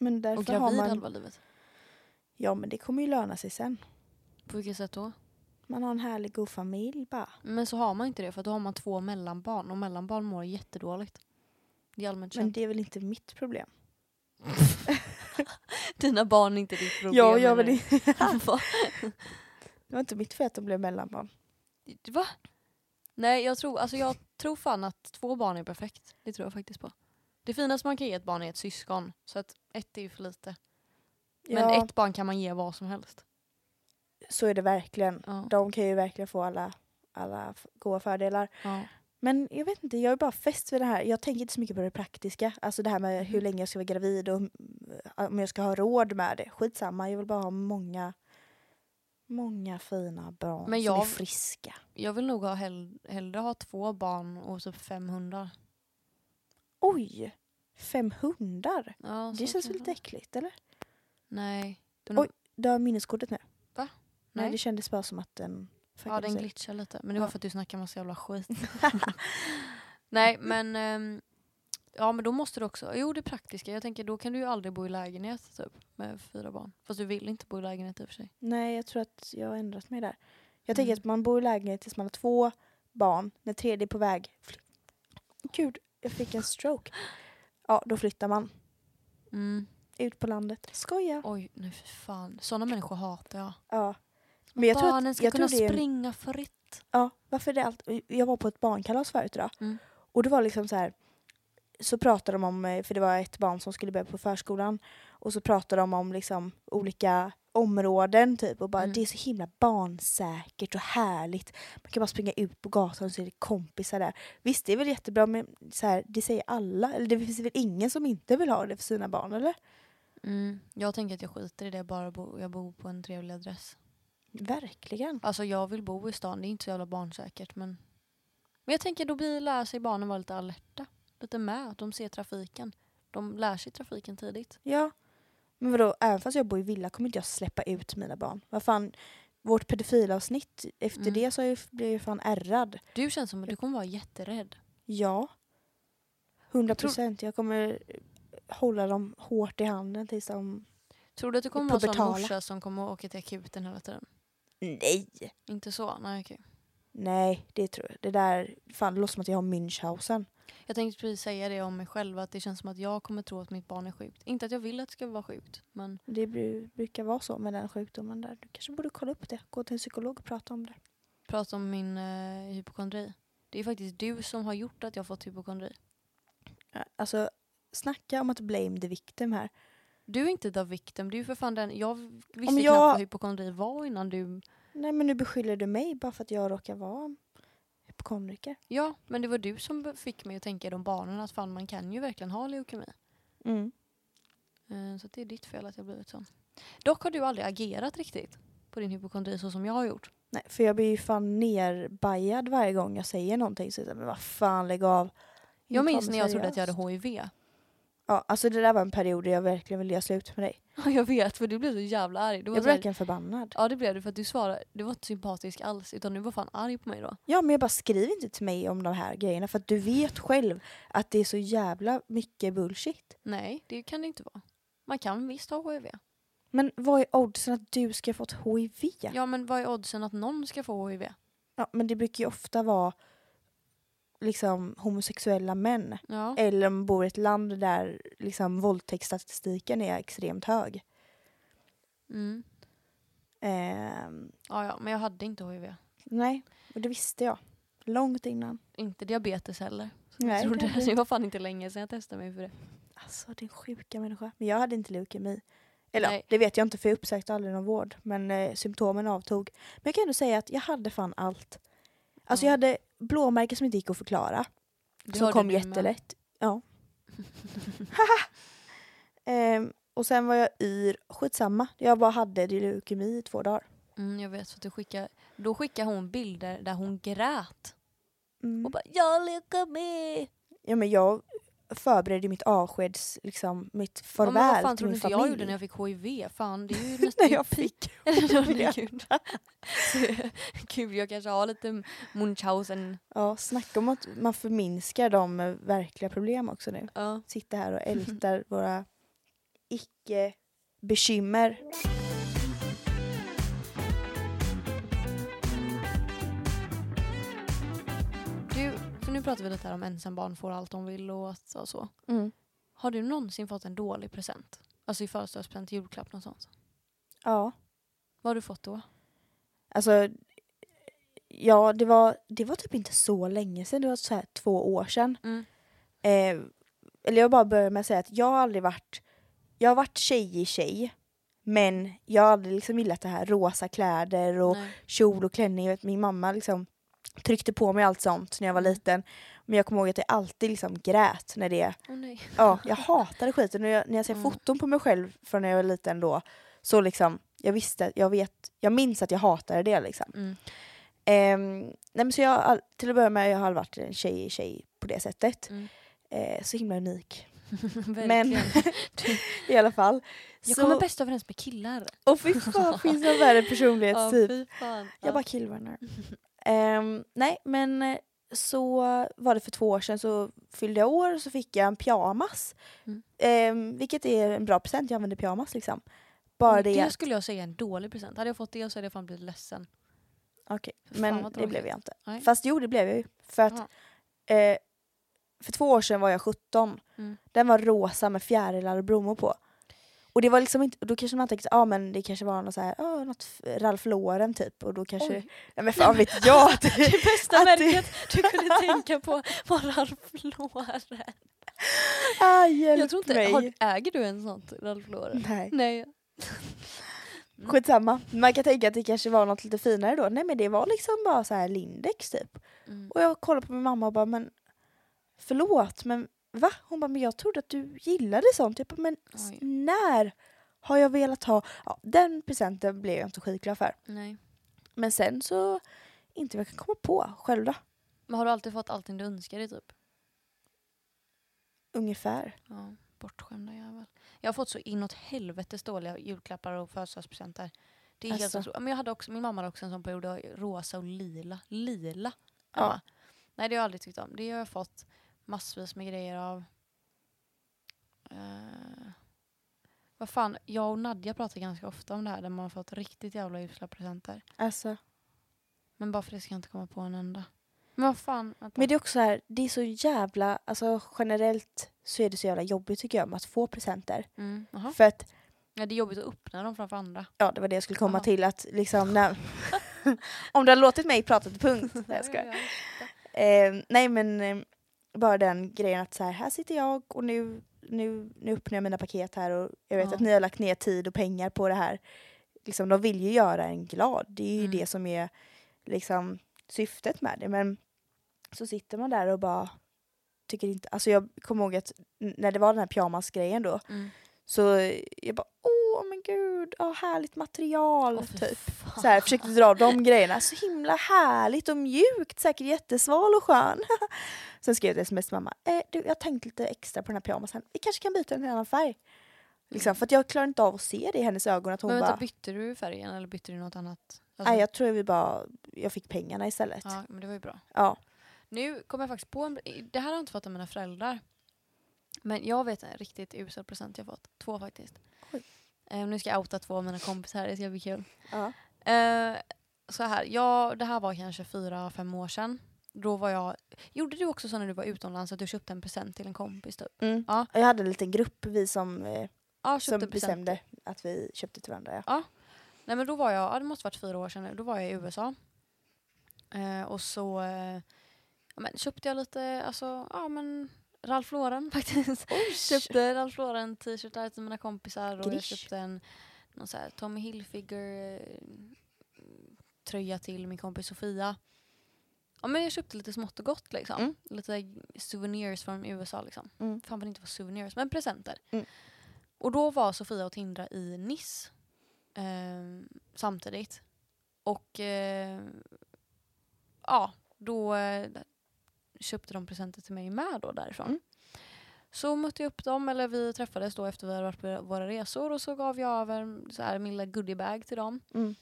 B: Men
A: Och
B: därför har
A: gravid
B: man...
A: halva livet.
B: Ja men det kommer ju löna sig sen.
A: På vilket sätt då?
B: Man har en härlig god familj bara.
A: Men så har man inte det för då har man två mellanbarn och mellanbarn mår jättedåligt. Det är allmänt
B: Men
A: känt.
B: det är väl inte mitt problem.
A: Dina barn är inte ditt problem.
B: Ja, jag
A: menar
B: vill inte.
A: du? Va?
B: Det var inte mitt fel att de blev mellanbarn.
A: Va? Nej, jag tror, alltså jag tror fan att två barn är perfekt. Det tror jag faktiskt på. Det finaste man kan ge ett barn är ett syskon. Så att ett är ju för lite. Men
B: ja,
A: ett barn kan man ge vad som helst.
B: så är det verkligen.
A: Ja.
B: De kan ju verkligen få alla, alla f- goda fördelar.
A: Ja.
B: Men jag vet inte, jag är bara fäst vid det här. Jag tänker inte så mycket på det praktiska. Alltså det här med hur
A: Mhm.
B: länge jag ska vara gravid och mm, om jag ska ha råd med det. Skitsamma, jag vill bara ha många, många fina barn
A: Men
B: som är
A: jag-
B: friska.
A: Jag vill nog ha hell- hellre ha två barn och typ fem hundar.
B: Oj! Fem hundar?
A: Ja, så
B: Det känns
A: kan
B: väl
A: det
B: lite
A: vara.
B: äckligt eller?
A: Nej. Den,
B: Oj, Du har minneskortet nu?
A: Va?
B: Nej.
A: Nej.
B: det kändes bara som att den...
A: ja, den
B: sig.
A: glitchar lite. Men det var
B: Ja.
A: för att du snackar massa jävla skit. Nej, men... ehm, ja, men då måste du också... Jo, det praktiska. Jag tänker, då kan du ju aldrig bo i lägenhet typ med fyra barn. Fast du vill inte bo i lägenhet i och för sig.
B: Nej, jag tror att jag har ändrat mig där. Jag tänker
A: Mm.
B: att man bor i lägenhet tills man har två barn, när tredje är på väg. fly- Gud, jag fick en stroke. Ja, då flyttar man
A: Mm.
B: ut på landet. Skoja!
A: Oj, nej för fan. Sådana människor hatar jag.
B: Ja. Men jag tror att-
A: Barnen ska
B: jag tror
A: kunna
B: det är en-
A: springa fritt.
B: Ja, varför är det allt? Jag var på ett barnkalas förut idag.
A: Mm.
B: Och det var liksom så här. Så pratade de om, eh, för det var ett barn som skulle börja på förskolan. Och så pratade de om liksom olika områden typ och bara
A: Mm.
B: det är så himla barnsäkert och härligt. Man kan bara springa ut på gatan och så är det kompisar där. Visst det är väl jättebra men så här, det säger alla, eller det finns väl ingen som inte vill ha det för sina barn eller?
A: Mm. Jag tänker att jag skiter i det bara bo, jag bor på en trevlig adress.
B: Verkligen.
A: Alltså jag vill bo i stan, det är inte så jävla barnsäkert men Men jag tänker då blir, lär sig barnen vara lite alerta. Lite med, att de ser trafiken. De lär sig trafiken tidigt.
B: Ja. Men vadå, även fast jag bor i villa kommer inte jag släppa ut mina barn. Vad fan, vårt pedofilavsnitt, efter
A: Mm.
B: det så har jag, blev jag ju fan ärrad.
A: Du känns som att du kommer vara jätterädd.
B: Ja. 100
A: tror-
B: procent. Jag kommer hålla dem hårt i handen tills de...
A: Tror du att du kommer vara en sån
B: Pubertala.
A: morsa som kommer åka till akuten hela tiden?
B: Nej!
A: Inte så? Nej okej.
B: Nej, det tror jag. Det där... Fan, det låter som att jag har Münchhausen.
A: Jag tänkte precis säga det om mig själv att det känns som att jag kommer tro att mitt barn är sjukt. Inte att jag vill att det ska vara sjukt men
B: Det bru- brukar vara så med den sjukdomen där. Du kanske borde kolla upp det. Gå till en psykolog och prata om det.
A: prata om min eh, hypokondri. Det är faktiskt du som har gjort att jag har fått hypokondri.
B: Ja, Alltså, snacka om att blame the victim här.
A: Du är inte the victim, du är ju för fan den. Jag visste
B: Om jag-
A: knappt vad hypokondri var innan du...
B: Nej, men nu beskyller du mig bara för att jag råkar vara hypokondriker.
A: Ja, men det var du som be- fick mig att tänka i de barnen att fan man kan ju verkligen ha leukemi.
B: Mm.
A: Eh, Så att det är ditt fel att jag blivit sån. Dock har du aldrig agerat riktigt på din hypokondri så som jag har gjort.
B: Nej, för jag blir ju fan nerbajad varje gång jag säger någonting. Så jag säger, men vad fan, lägg av.
A: Jag
B: Ta
A: minns
B: det
A: när jag trodde att
B: seriöst.
A: jag hade HIV.
B: Ja, alltså det där var en period där jag verkligen ville göra slut med dig.
A: Ja, jag vet, för du blev så jävla arg. Du var
B: Jag
A: så
B: blev
A: här-
B: verkligen förbannad.
A: ja, det blev du för att du svarade. Du var inte sympatisk alls utan du var fan arg på mig då.
B: Ja, men jag bara skriv inte till mig om de här grejerna för att du vet själv att det är så jävla mycket bullshit.
A: Nej, det kan det inte vara. Man kan visst ha HIV.
B: Men vad är oddsen att du ska ha fått HIV?
A: Ja,
B: Ja,
A: men vad är oddsen att någon ska få HIV?
B: men det brukar ju ofta vara liksom homosexuella män.
A: Ja.
B: Eller om man bor i ett land där liksom våldtäktsstatistiken är extremt hög.
A: Mm.
B: Ehm,
A: Ja, ja, men jag hade inte HIV.
B: nej, och det visste jag. Långt innan.
A: Inte diabetes heller. Så
B: Nej,
A: jag trodde,
B: det hade
A: det, det var fan inte länge sedan jag testade mig för det.
B: Alltså din sjuka människa. Men jag hade inte leukemi. Eller
A: Nej.
B: det vet jag inte för jag uppsökte aldrig någon vård. Men eh, symptomen avtog. Men jag kan ändå säga att jag hade fan allt. Alltså
A: Ja.
B: jag hade blåmärken som inte gick att förklara.
A: Det
B: som
A: hörde
B: kom
A: du med.
B: jättelätt. Ja. Haha. Ehm, och sen var jag yr. Skitsamma. Jag bara hade leukemi i två dagar.
A: Mm, jag vet, för att du skickade, då skickade hon bilder där hon grät.
B: Mm.
A: Och bara jag leker med.
B: Ja, men jag förberedde mitt avskeds, liksom, mitt
A: Ja, men vad
B: farväl
A: fan
B: till
A: trodde
B: min
A: inte
B: familj.
A: jag gjorde när jag fick HIV? Fan det är ju nästan
B: Nej, jag fick.
A: Eller
B: det.
A: gud. gud jag kanske har lite Munchausen.
B: Ja, snacka om att man förminskar de eh, verkliga problem också nu.
A: Ja.
B: Sitta här och ältar våra icke-bekymmer.
A: Du, för nu pratar vi lite här om ensambarn får allt de vill och att- och så. Har du någonsin fått en dålig present? Alltså i födelsedagspresent, julklapp, något sånt.
B: Ja,
A: Vad har du fått då?
B: alltså. Ja, det var, det var typ inte så länge sedan. Det var så här två år sedan.
A: Mm.
B: Eh, eller jag bara börjar med att säga att jag har aldrig varit, jag har varit tjej i tjej. Men jag har aldrig liksom gillat det här rosa kläder och
A: Nej.
B: kjol och klänning. Jag vet, min mamma liksom tryckte på mig allt sånt när jag var
A: Mm.
B: liten. Men jag kommer ihåg att jag alltid liksom grät när det...
A: Åh, nej.
B: Ja, jag hatade skiten. När jag, när jag ser
A: Mm.
B: foton på mig själv från när jag var liten då så liksom, jag visste, jag vet, jag minns att jag hatade det liksom.
A: Mm.
B: Ehm, nej men så jag, har all- till att börja med, jag har aldrig varit en tjej i tjej på det sättet.
A: Mm.
B: Eh, så himla unik.
A: Verkligen.
B: I alla fall.
A: Jag
B: så,
A: kommer bäst överens med killar.
B: och fy fan, finns det en värre
A: Ja,
B: personlighetstyp?
A: fy fan.
B: typ. Jag bara killvänner. um, nej men eh, så var det för två år sedan så fyllde jag år och så fick jag en pyjamas.
A: Mm.
B: Ehm, vilket är en bra present, jag använder pyjamas liksom. Bara det,
A: det skulle jag säga är en dålig present. Hade jag fått det så hade jag fan blivit ledsen.
B: Okej,
A: Fan,
B: men
A: vad
B: det blev
A: tråkigt.
B: jag inte.
A: Nej.
B: Fast jo det blev jag ju. För att eh, för två år sedan var jag 17.
A: Mm.
B: Den var rosa med fjärilar och blommor på. Och det var liksom inte, då kanske man tänkte, ja ah, men det kanske var något så här, ah, något f- Ralph Lauren typ och då kanske,
A: Oj.
B: nej men fan vet jag! att-
A: Det bästa
B: Att det-
A: märket du kunde tänka på var Ralph Lauren.
B: Aj, hjälp
A: Jag tror inte,
B: mig.
A: har, äger du Mm. en sån Ralph Lauren?
B: Nej.
A: Nej. Mm.
B: Skitsamma. Man kan tänka att det kanske var något lite finare då. Nej men det var liksom bara så här Lindex typ.
A: Mm.
B: Och jag kollade på min mamma och bara men förlåt men va? Hon bara men jag trodde att du gillade sånt. Jag bara, men s-
A: Oj.
B: när har jag velat ha? Ja, den presenten blev jag inte skitglad för.
A: Nej.
B: Men sen så inte vad jag kan komma på själv då.
A: Men har du alltid fått allting du önskar dig typ?
B: Ungefär.
A: Ja, bortskämda jävel. Jag har fått så inåt helvetes dåliga julklappar och födelsedagspresenter. Det är helt
B: Asså.
A: otroligt. Men jag hade också, min mamma hade också en sån period, av rosa och lila. Lila?
B: Ja.
A: Ja. Nej det har jag aldrig tyckt om. Det har jag fått massvis med grejer av. Eh, vad fan, jag och Nadja pratar ganska ofta om det här där man har fått riktigt jävla usla presenter.
B: Alltså.
A: Men bara för det ska jag inte komma på en enda. Men vad fan, vänta.
B: Men det är också så här, det är så jävla, alltså generellt så är det så jävla jobbigt tycker jag med att få presenter.
A: Mm, jaha.
B: För att
A: ja, det är jobbigt att öppna dem framför andra.
B: Ja, det var det jag skulle komma
A: Aha.
B: till. Att liksom när... Om du hade låtit mig prata till punkt. Nej, jag skojar.
A: Ja, ja, ja.
B: Eh, nej, men eh, bara den grejen att så här, här sitter jag och nu, nu, nu öppnar jag mina paket här och jag vet
A: Ja.
B: att ni har lagt ner tid och pengar på det här. Liksom, de vill ju göra en glad. Det är ju
A: Mm.
B: det som är liksom syftet med det. Men så sitter man där och bara tycker inte... Alltså jag kommer ihåg att n- när det var den här pyjamasgrejen då
A: Mm.
B: så eh, jag bara åh men gud, åh, härligt material.
A: Åh, fy
B: typ.
A: fan.
B: Så här, försökte dra de grejerna. Så himla härligt och mjukt, säkert jättesval och skön. Sen skrev jag ett sms till mamma. Eh, du, jag har tänkt lite extra på den här pyjamasen. Vi kanske kan byta den till en annan färg. Liksom, för att jag klarar inte av att se det i hennes ögon. Att hon
A: Men vänta,
B: bara,
A: bytte du färgen eller bytte du något annat? Alltså-
B: nej jag tror vi bara, jag fick pengarna istället. Ja.
A: ja, men det var ju bra.
B: Ja.
A: Nu kom jag faktiskt på en... Det här har jag inte fått av mina föräldrar. Men jag vet en riktigt usel present jag fått. Två faktiskt.
B: Oj.
A: Eh, nu ska jag outa två av mina kompisar, det ska bli kul. Eh, så här, jag, det här var kanske fyra, fem år sedan. Då var jag... Gjorde du också så när du var utomlands att du köpte en present till en kompis? Typ?
B: Mm.
A: Ja.
B: Och Jag hade en liten grupp, vi som, eh,
A: Ja,
B: som
A: köpte en present.
B: bestämde att vi köpte till varandra. Ja.
A: Nej men då var jag, ja, det måste varit fyra år sedan nu, då var jag i USA. Eh, och så eh, ja, men köpte jag lite, alltså ja men Ralph Lauren faktiskt.
B: Typ.
A: köpte Ralph Lauren t-shirtar till mina kompisar och jag
B: Grish.
A: köpte en någon så här Tommy Hilfiger eh, tröja till min kompis Sofia. Ja men jag köpte lite smått och gott liksom.
B: Mm.
A: Lite souvenirs från USA liksom.
B: Mm.
A: Fan vad det inte var souvenirs, men presenter.
B: Mm.
A: Och då var Sofia och Tindra i Nice ehm, samtidigt. Och eh, ja, då eh, köpte de presenter till mig med då därifrån. Så mötte jag upp dem, eller vi träffades då efter vi hade varit på våra resor och så gav jag över så här, min lilla goodiebag till dem.
B: Mm.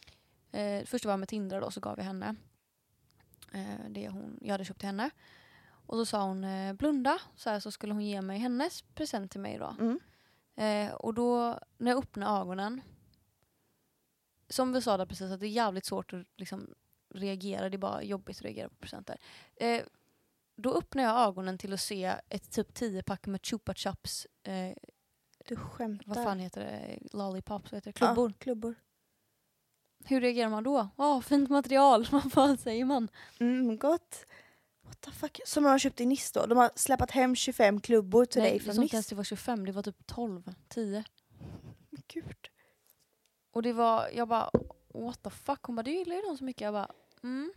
A: Eh, först var jag med Tindra då så gav jag henne eh, det hon, jag hade köpt till henne. Och så sa hon eh, blunda så, här, så skulle hon ge mig hennes present till mig då.
B: Mm.
A: Eh, och då när jag öppnade ögonen. Som vi sa där precis att det är jävligt svårt att liksom, reagera. Det är bara jobbigt att reagera på presenter. Eh, då öppnar jag ögonen till att se ett typ 10-pack med Chupa Chups, eh,
B: Du skämtar.
A: vad fan heter det, lollipops, vad heter det? klubbor.
B: Ja, klubbor.
A: Hur reagerar man då? Åh, fint material, vad fan säger man?
B: Mm, gott. What the fuck? Som de har köpt i Nice då. De har släpat hem 25 klubbor till dig
A: Nej,
B: från
A: som
B: Nice.
A: kanske det var 25, det var typ 12, 10.
B: Gud.
A: Och det var, jag bara what the fuck, hon bara du gillar ju dem så mycket. Jag bara mm.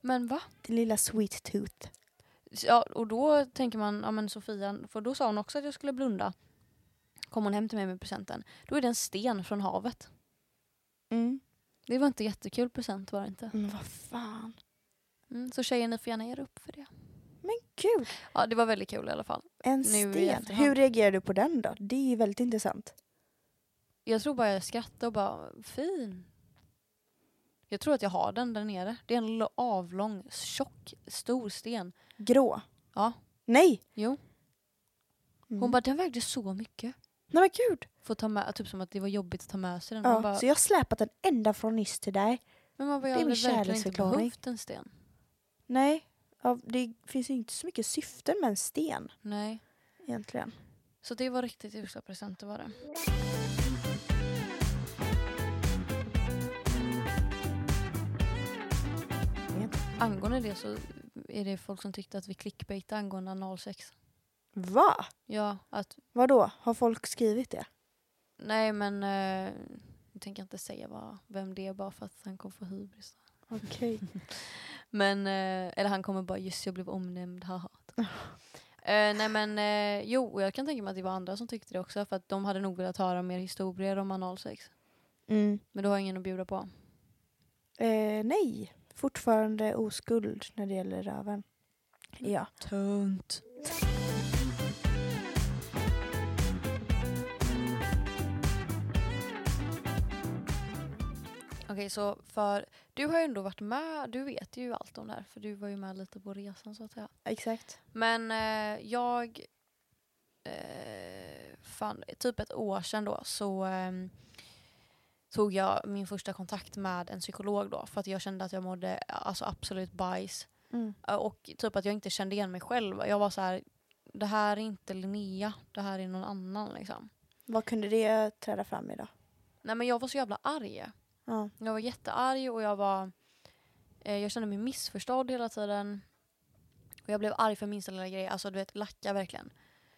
A: Men va?
B: Din lilla sweet tooth.
A: Så, Ja, och då tänker man, ja men Sofia, för då sa hon också att jag skulle blunda. Kom hon hem till mig med presenten. Då är det en sten från havet.
B: Mm.
A: Det var inte jättekul present var det inte.
B: Men vad fan.
A: Mm, så tjejer ni får gärna ge er upp för det.
B: Men gud.
A: Ja det var väldigt kul i alla fall.
B: En
A: Nu i
B: sten.
A: efterhand.
B: Hur reagerar du på den då? Det är ju väldigt intressant.
A: Jag tror bara jag skrattade och bara fin. Jag tror att jag har den där nere. Det är en lo- avlång, tjock, stor sten.
B: Grå.
A: Ja.
B: Nej.
A: Jo. Hon
B: Mm.
A: bara den vägde så mycket.
B: Nej men gud.
A: Får ta med, typ som att det var jobbigt att ta med sig den.
B: Ja,
A: Man bara,
B: Så jag har släpat den ända från Nice till dig.
A: men man bara, jag
B: det är
A: hade
B: min
A: verkligen inte
B: kärleksförklaring.
A: behövt en sten.
B: Nej. Ja, det finns ju inte så mycket syften med en sten
A: Nej.
B: egentligen.
A: Så det var riktigt usla presenter var det. Angående det så är det folk som tyckte att vi clickbaitade angående analsex.
B: Va?
A: Ja, att
B: Vadå? Har folk skrivit det?
A: nej men eh, jag tänker inte säga vad, vem det är bara för att han kommer få hybris.
B: Okej.
A: Men, eh, eller han kommer bara just jag blev omnämnd, haha. Eh, nej men eh, jo, och jag kan tänka mig att det var andra som tyckte det också för att de hade nog velat höra mer historier om analsex.
B: Mm.
A: Men då har jag ingen att bjuda på.
B: Eh, nej. Fortfarande oskuld när det gäller röven.
A: Mm.
B: Ja.
A: Tunt. Okej, så för du har ju ändå varit med, du vet ju allt om det här för du var ju med lite på resan så att säga.
B: Exakt.
A: Men eh, jag, eh, fan, typ ett år sedan då så ehm, tog jag min första kontakt med en psykolog då för att jag kände att jag mådde alltså absolut bajs.
B: Mm.
A: Eh, Och typ att jag inte kände igen mig själv. Jag var så här, det här är inte Linnea, det här är någon annan liksom.
B: Vad kunde det träda fram idag?
A: Nej men jag var så jävla arg.
B: Ja.
A: Jag var jättearg och jag var... Eh, jag kände mig missförstådd hela tiden. Och jag blev arg för minsta lilla grej. Alltså du vet, lacka verkligen.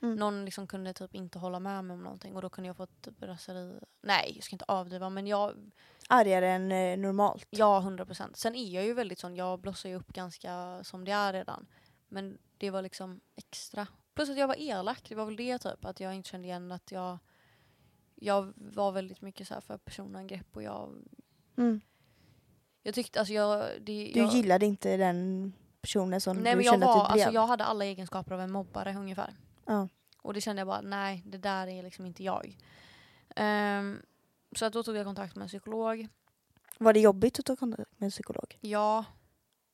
B: Mm.
A: Någon liksom kunde typ inte hålla med mig om någonting och då kunde jag få typ raseri. Nej, jag ska inte avdriva men jag...
B: Argare än eh, normalt.
A: Ja, 100 procent. Sen är jag ju väldigt sån, jag blossar ju upp ganska som det är redan. Men det var liksom extra. Plus att jag var elak, det var väl det typ. Att jag inte kände igen att jag... Jag var väldigt mycket så här för personangrepp och jag...
B: Mm.
A: Jag tyckte alltså jag... Det,
B: Du
A: jag,
B: gillade inte den personen som
A: Nej
B: du
A: men jag
B: kände
A: var,
B: att du blev?
A: alltså jag hade alla egenskaper av en mobbare ungefär.
B: Ja.
A: Och det kände jag bara, nej det där är liksom inte jag. Ehm, så att då tog jag kontakt med en psykolog.
B: Var det jobbigt att ta kontakt med en psykolog?
A: Ja.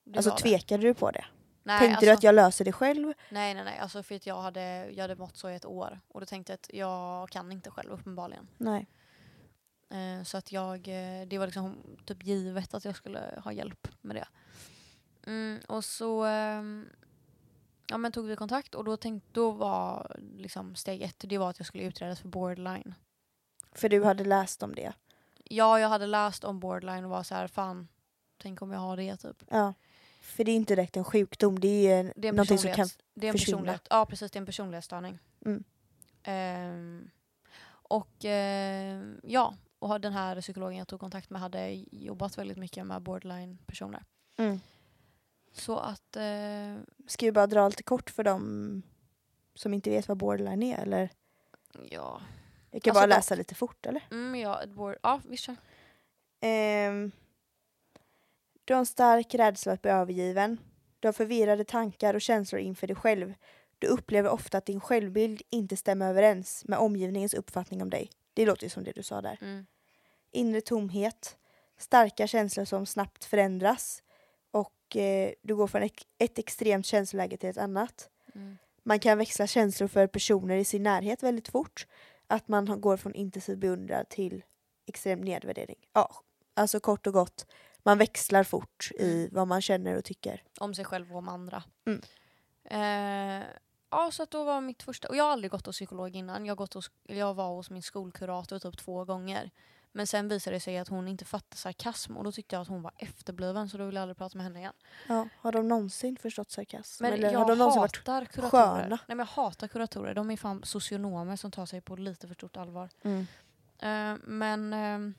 A: det
B: alltså
A: var det.
B: tvekade du på det?
A: Nej,
B: Tänkte
A: alltså,
B: du att jag löser det själv?
A: Nej nej nej, alltså för att jag hade, jag hade mått så i ett år. Och då tänkte jag att jag kan inte själv uppenbarligen.
B: Nej.
A: Eh, så att jag, eh, det var liksom typ givet att jag skulle ha hjälp med det. Mm, och så ehm, ja, men tog vi kontakt och då, tänkte, då var liksom steg ett, det var att jag skulle utredas för borderline.
B: För du hade läst om det?
A: Ja, jag hade läst om borderline och var så här, fan, tänk om jag har det typ.
B: Ja. För det är inte direkt en sjukdom, det är ju en,
A: Det är en
B: någonting som kan...
A: personlighets- det är en
B: försvinna.
A: personlighet. Ja, precis, det är en personlighetsstörning.
B: Mm.
A: Ehm, och ehm, ja, och har- den här psykologen jag tog kontakt med hade jobbat väldigt mycket med borderline-personer.
B: Mm.
A: Så att eh,
B: Ska vi bara dra lite kort för dem som inte vet vad borderline är eller?
A: Ja.
B: Jag kan
A: Alltså,
B: bara
A: de-
B: läsa lite fort eller?
A: Mm, ja, ett bor- ja visst kör.
B: Ehm, du har en stark rädsla att bli övergiven. Du har förvirrade tankar och känslor inför dig själv. Du upplever ofta att din självbild inte stämmer överens med omgivningens uppfattning om dig. Det låter ju som det du sa där.
A: Mm.
B: Inre tomhet, starka känslor som snabbt förändras och eh, du går från ek- ett extremt känsloläge till ett annat.
A: Mm.
B: Man kan växla känslor för personer i sin närhet väldigt fort. Att man har- går från intensiv beundran till extrem nedvärdering. Ja, alltså kort och gott, man växlar fort i vad man känner och tycker.
A: Om sig själv och om andra.
B: Mm.
A: Eh, ja, så att då var mitt första... Och jag har aldrig gått hos psykolog innan. Jag, har gått hos, jag var hos min skolkurator typ två gånger. Men sen visade det sig att hon inte fattade sarkasm och då tyckte jag att hon var efterbliven så då ville jag aldrig prata med henne igen.
B: Ja, har de någonsin förstått sarkasm?
A: Men
B: Eller
A: jag
B: har de någonsin varit...
A: hatar kuratorer.
B: sköna?
A: Nej, men jag hatar kuratorer. De är fan socionomer som tar sig på lite för stort allvar.
B: Mm.
A: Eh, men ehm,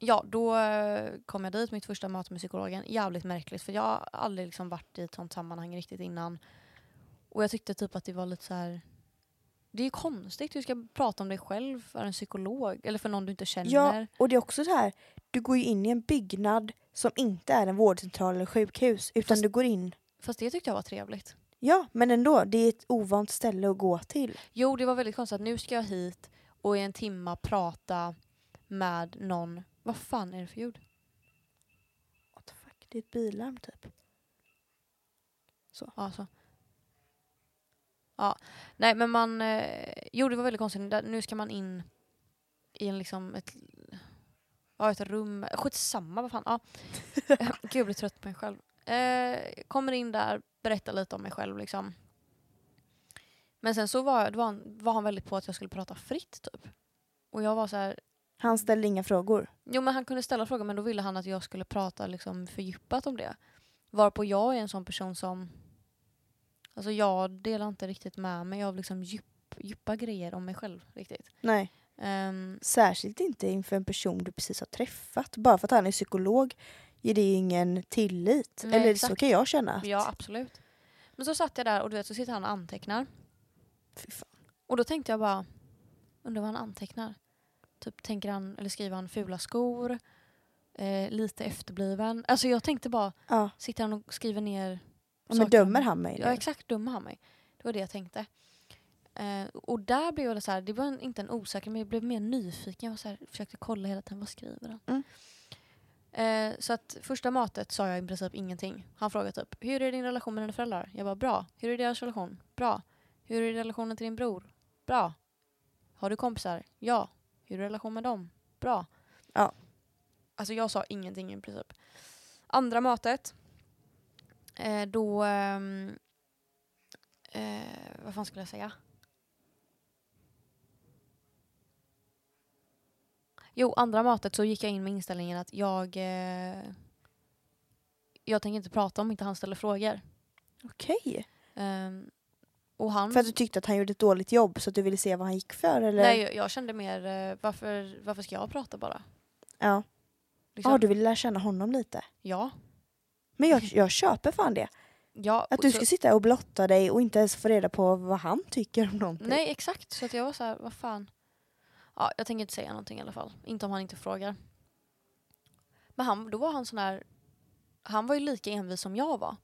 A: ja, då eh, kom jag dit, mitt första möte med psykologen. Jävligt märkligt för jag har aldrig liksom varit i ett sånt sammanhang riktigt innan. Och jag tyckte typ att det var lite så här. Det är ju konstigt, du ska prata om dig själv för en psykolog eller för någon du inte känner.
B: Ja, och det är också så här, du går ju in i en byggnad som inte är en vårdcentral eller sjukhus utan
A: Fast-
B: du går in
A: Fast det tyckte jag var trevligt.
B: Ja, men ändå, det är ett ovant ställe att gå till.
A: Jo, det var väldigt konstigt att nu ska jag hit och i en timma prata med någon. Vad fan är det för ljud?
B: What the fuck, det är ett bilarm typ.
A: Ja, så. Ja, nej men man... Eh, jo, det var väldigt konstigt. Där- Nu ska man in i en liksom ett... Ja, ett rum. Skitsamma, vad fan. Ja. Eh, Gud, jag blir trött på mig själv. Eh, kommer in där, berättar lite om mig själv liksom. Men sen så var, jag- då var, han, var han väldigt på att jag skulle prata fritt typ. Och jag var så här,
B: Han ställde inga frågor.
A: Jo men han kunde ställa frågan men då ville han att jag skulle prata liksom, fördjupat om det. Varpå jag är en sån person som... Alltså jag delar inte riktigt med mig av liksom djup, djupa grejer om mig själv riktigt.
B: Nej.
A: Ehm,
B: Särskilt inte inför en person du precis har träffat. Bara för att han är psykolog ger det ju ingen tillit.
A: Nej,
B: Eller så
A: exakt.
B: kan jag känna. Att,
A: ja absolut. Men så satt jag där och du vet så sitter han och antecknar.
B: Fy fan.
A: Och då tänkte jag bara, undrar vad han antecknar? Typ tänker han, eller skriver han fula skor? Eh, lite efterbliven. Alltså jag tänkte bara,
B: Ja,
A: sitter han och skriver ner
B: men
A: saker om
B: dömer han mig
A: Ja
B: nu?
A: exakt, dömer han mig. Det var det jag tänkte. Eh, och där blev jag så här, det var en, inte en osäker men jag blev mer nyfiken. Jag var så här, försökte kolla hela tiden, vad skriver han?
B: Mm.
A: Eh, så att första mötet sa jag i princip ingenting. Han frågade typ, hur är din relation med dina föräldrar? Jag bara, bra. Hur är deras relation? Bra. Hur är relationen till din bror? Bra. Har du kompisar? Ja. Hur är relationen med dem? Bra.
B: Ja.
A: Alltså jag sa ingenting i princip. Andra mötet, eh, då... ehm, eh, vad fan skulle jag säga? Jo, andra mötet så gick jag in med inställningen att jag... Eh, jag tänker inte prata om inte han ställer frågor.
B: Okej.
A: Ehm, och han...
B: För att du tyckte att han gjorde ett dåligt jobb så att du ville se vad han gick för? Eller?
A: Nej, jag, jag kände mer, eh, varför, varför ska jag prata bara?
B: Ja,
A: Liksom,
B: ah, du ville lära känna honom lite.
A: Ja.
B: Men jag, jag köper fan det.
A: ja
B: Att
A: och
B: du
A: så-
B: ska sitta och blotta dig och inte ens få reda på vad han tycker om någonting.
A: Nej, exakt. Så att jag var så här, vad fan. Ja, jag tänker inte säga någonting i alla fall. Inte om han inte frågar. Men han, då var han sån här... Han var ju lika envis som jag var.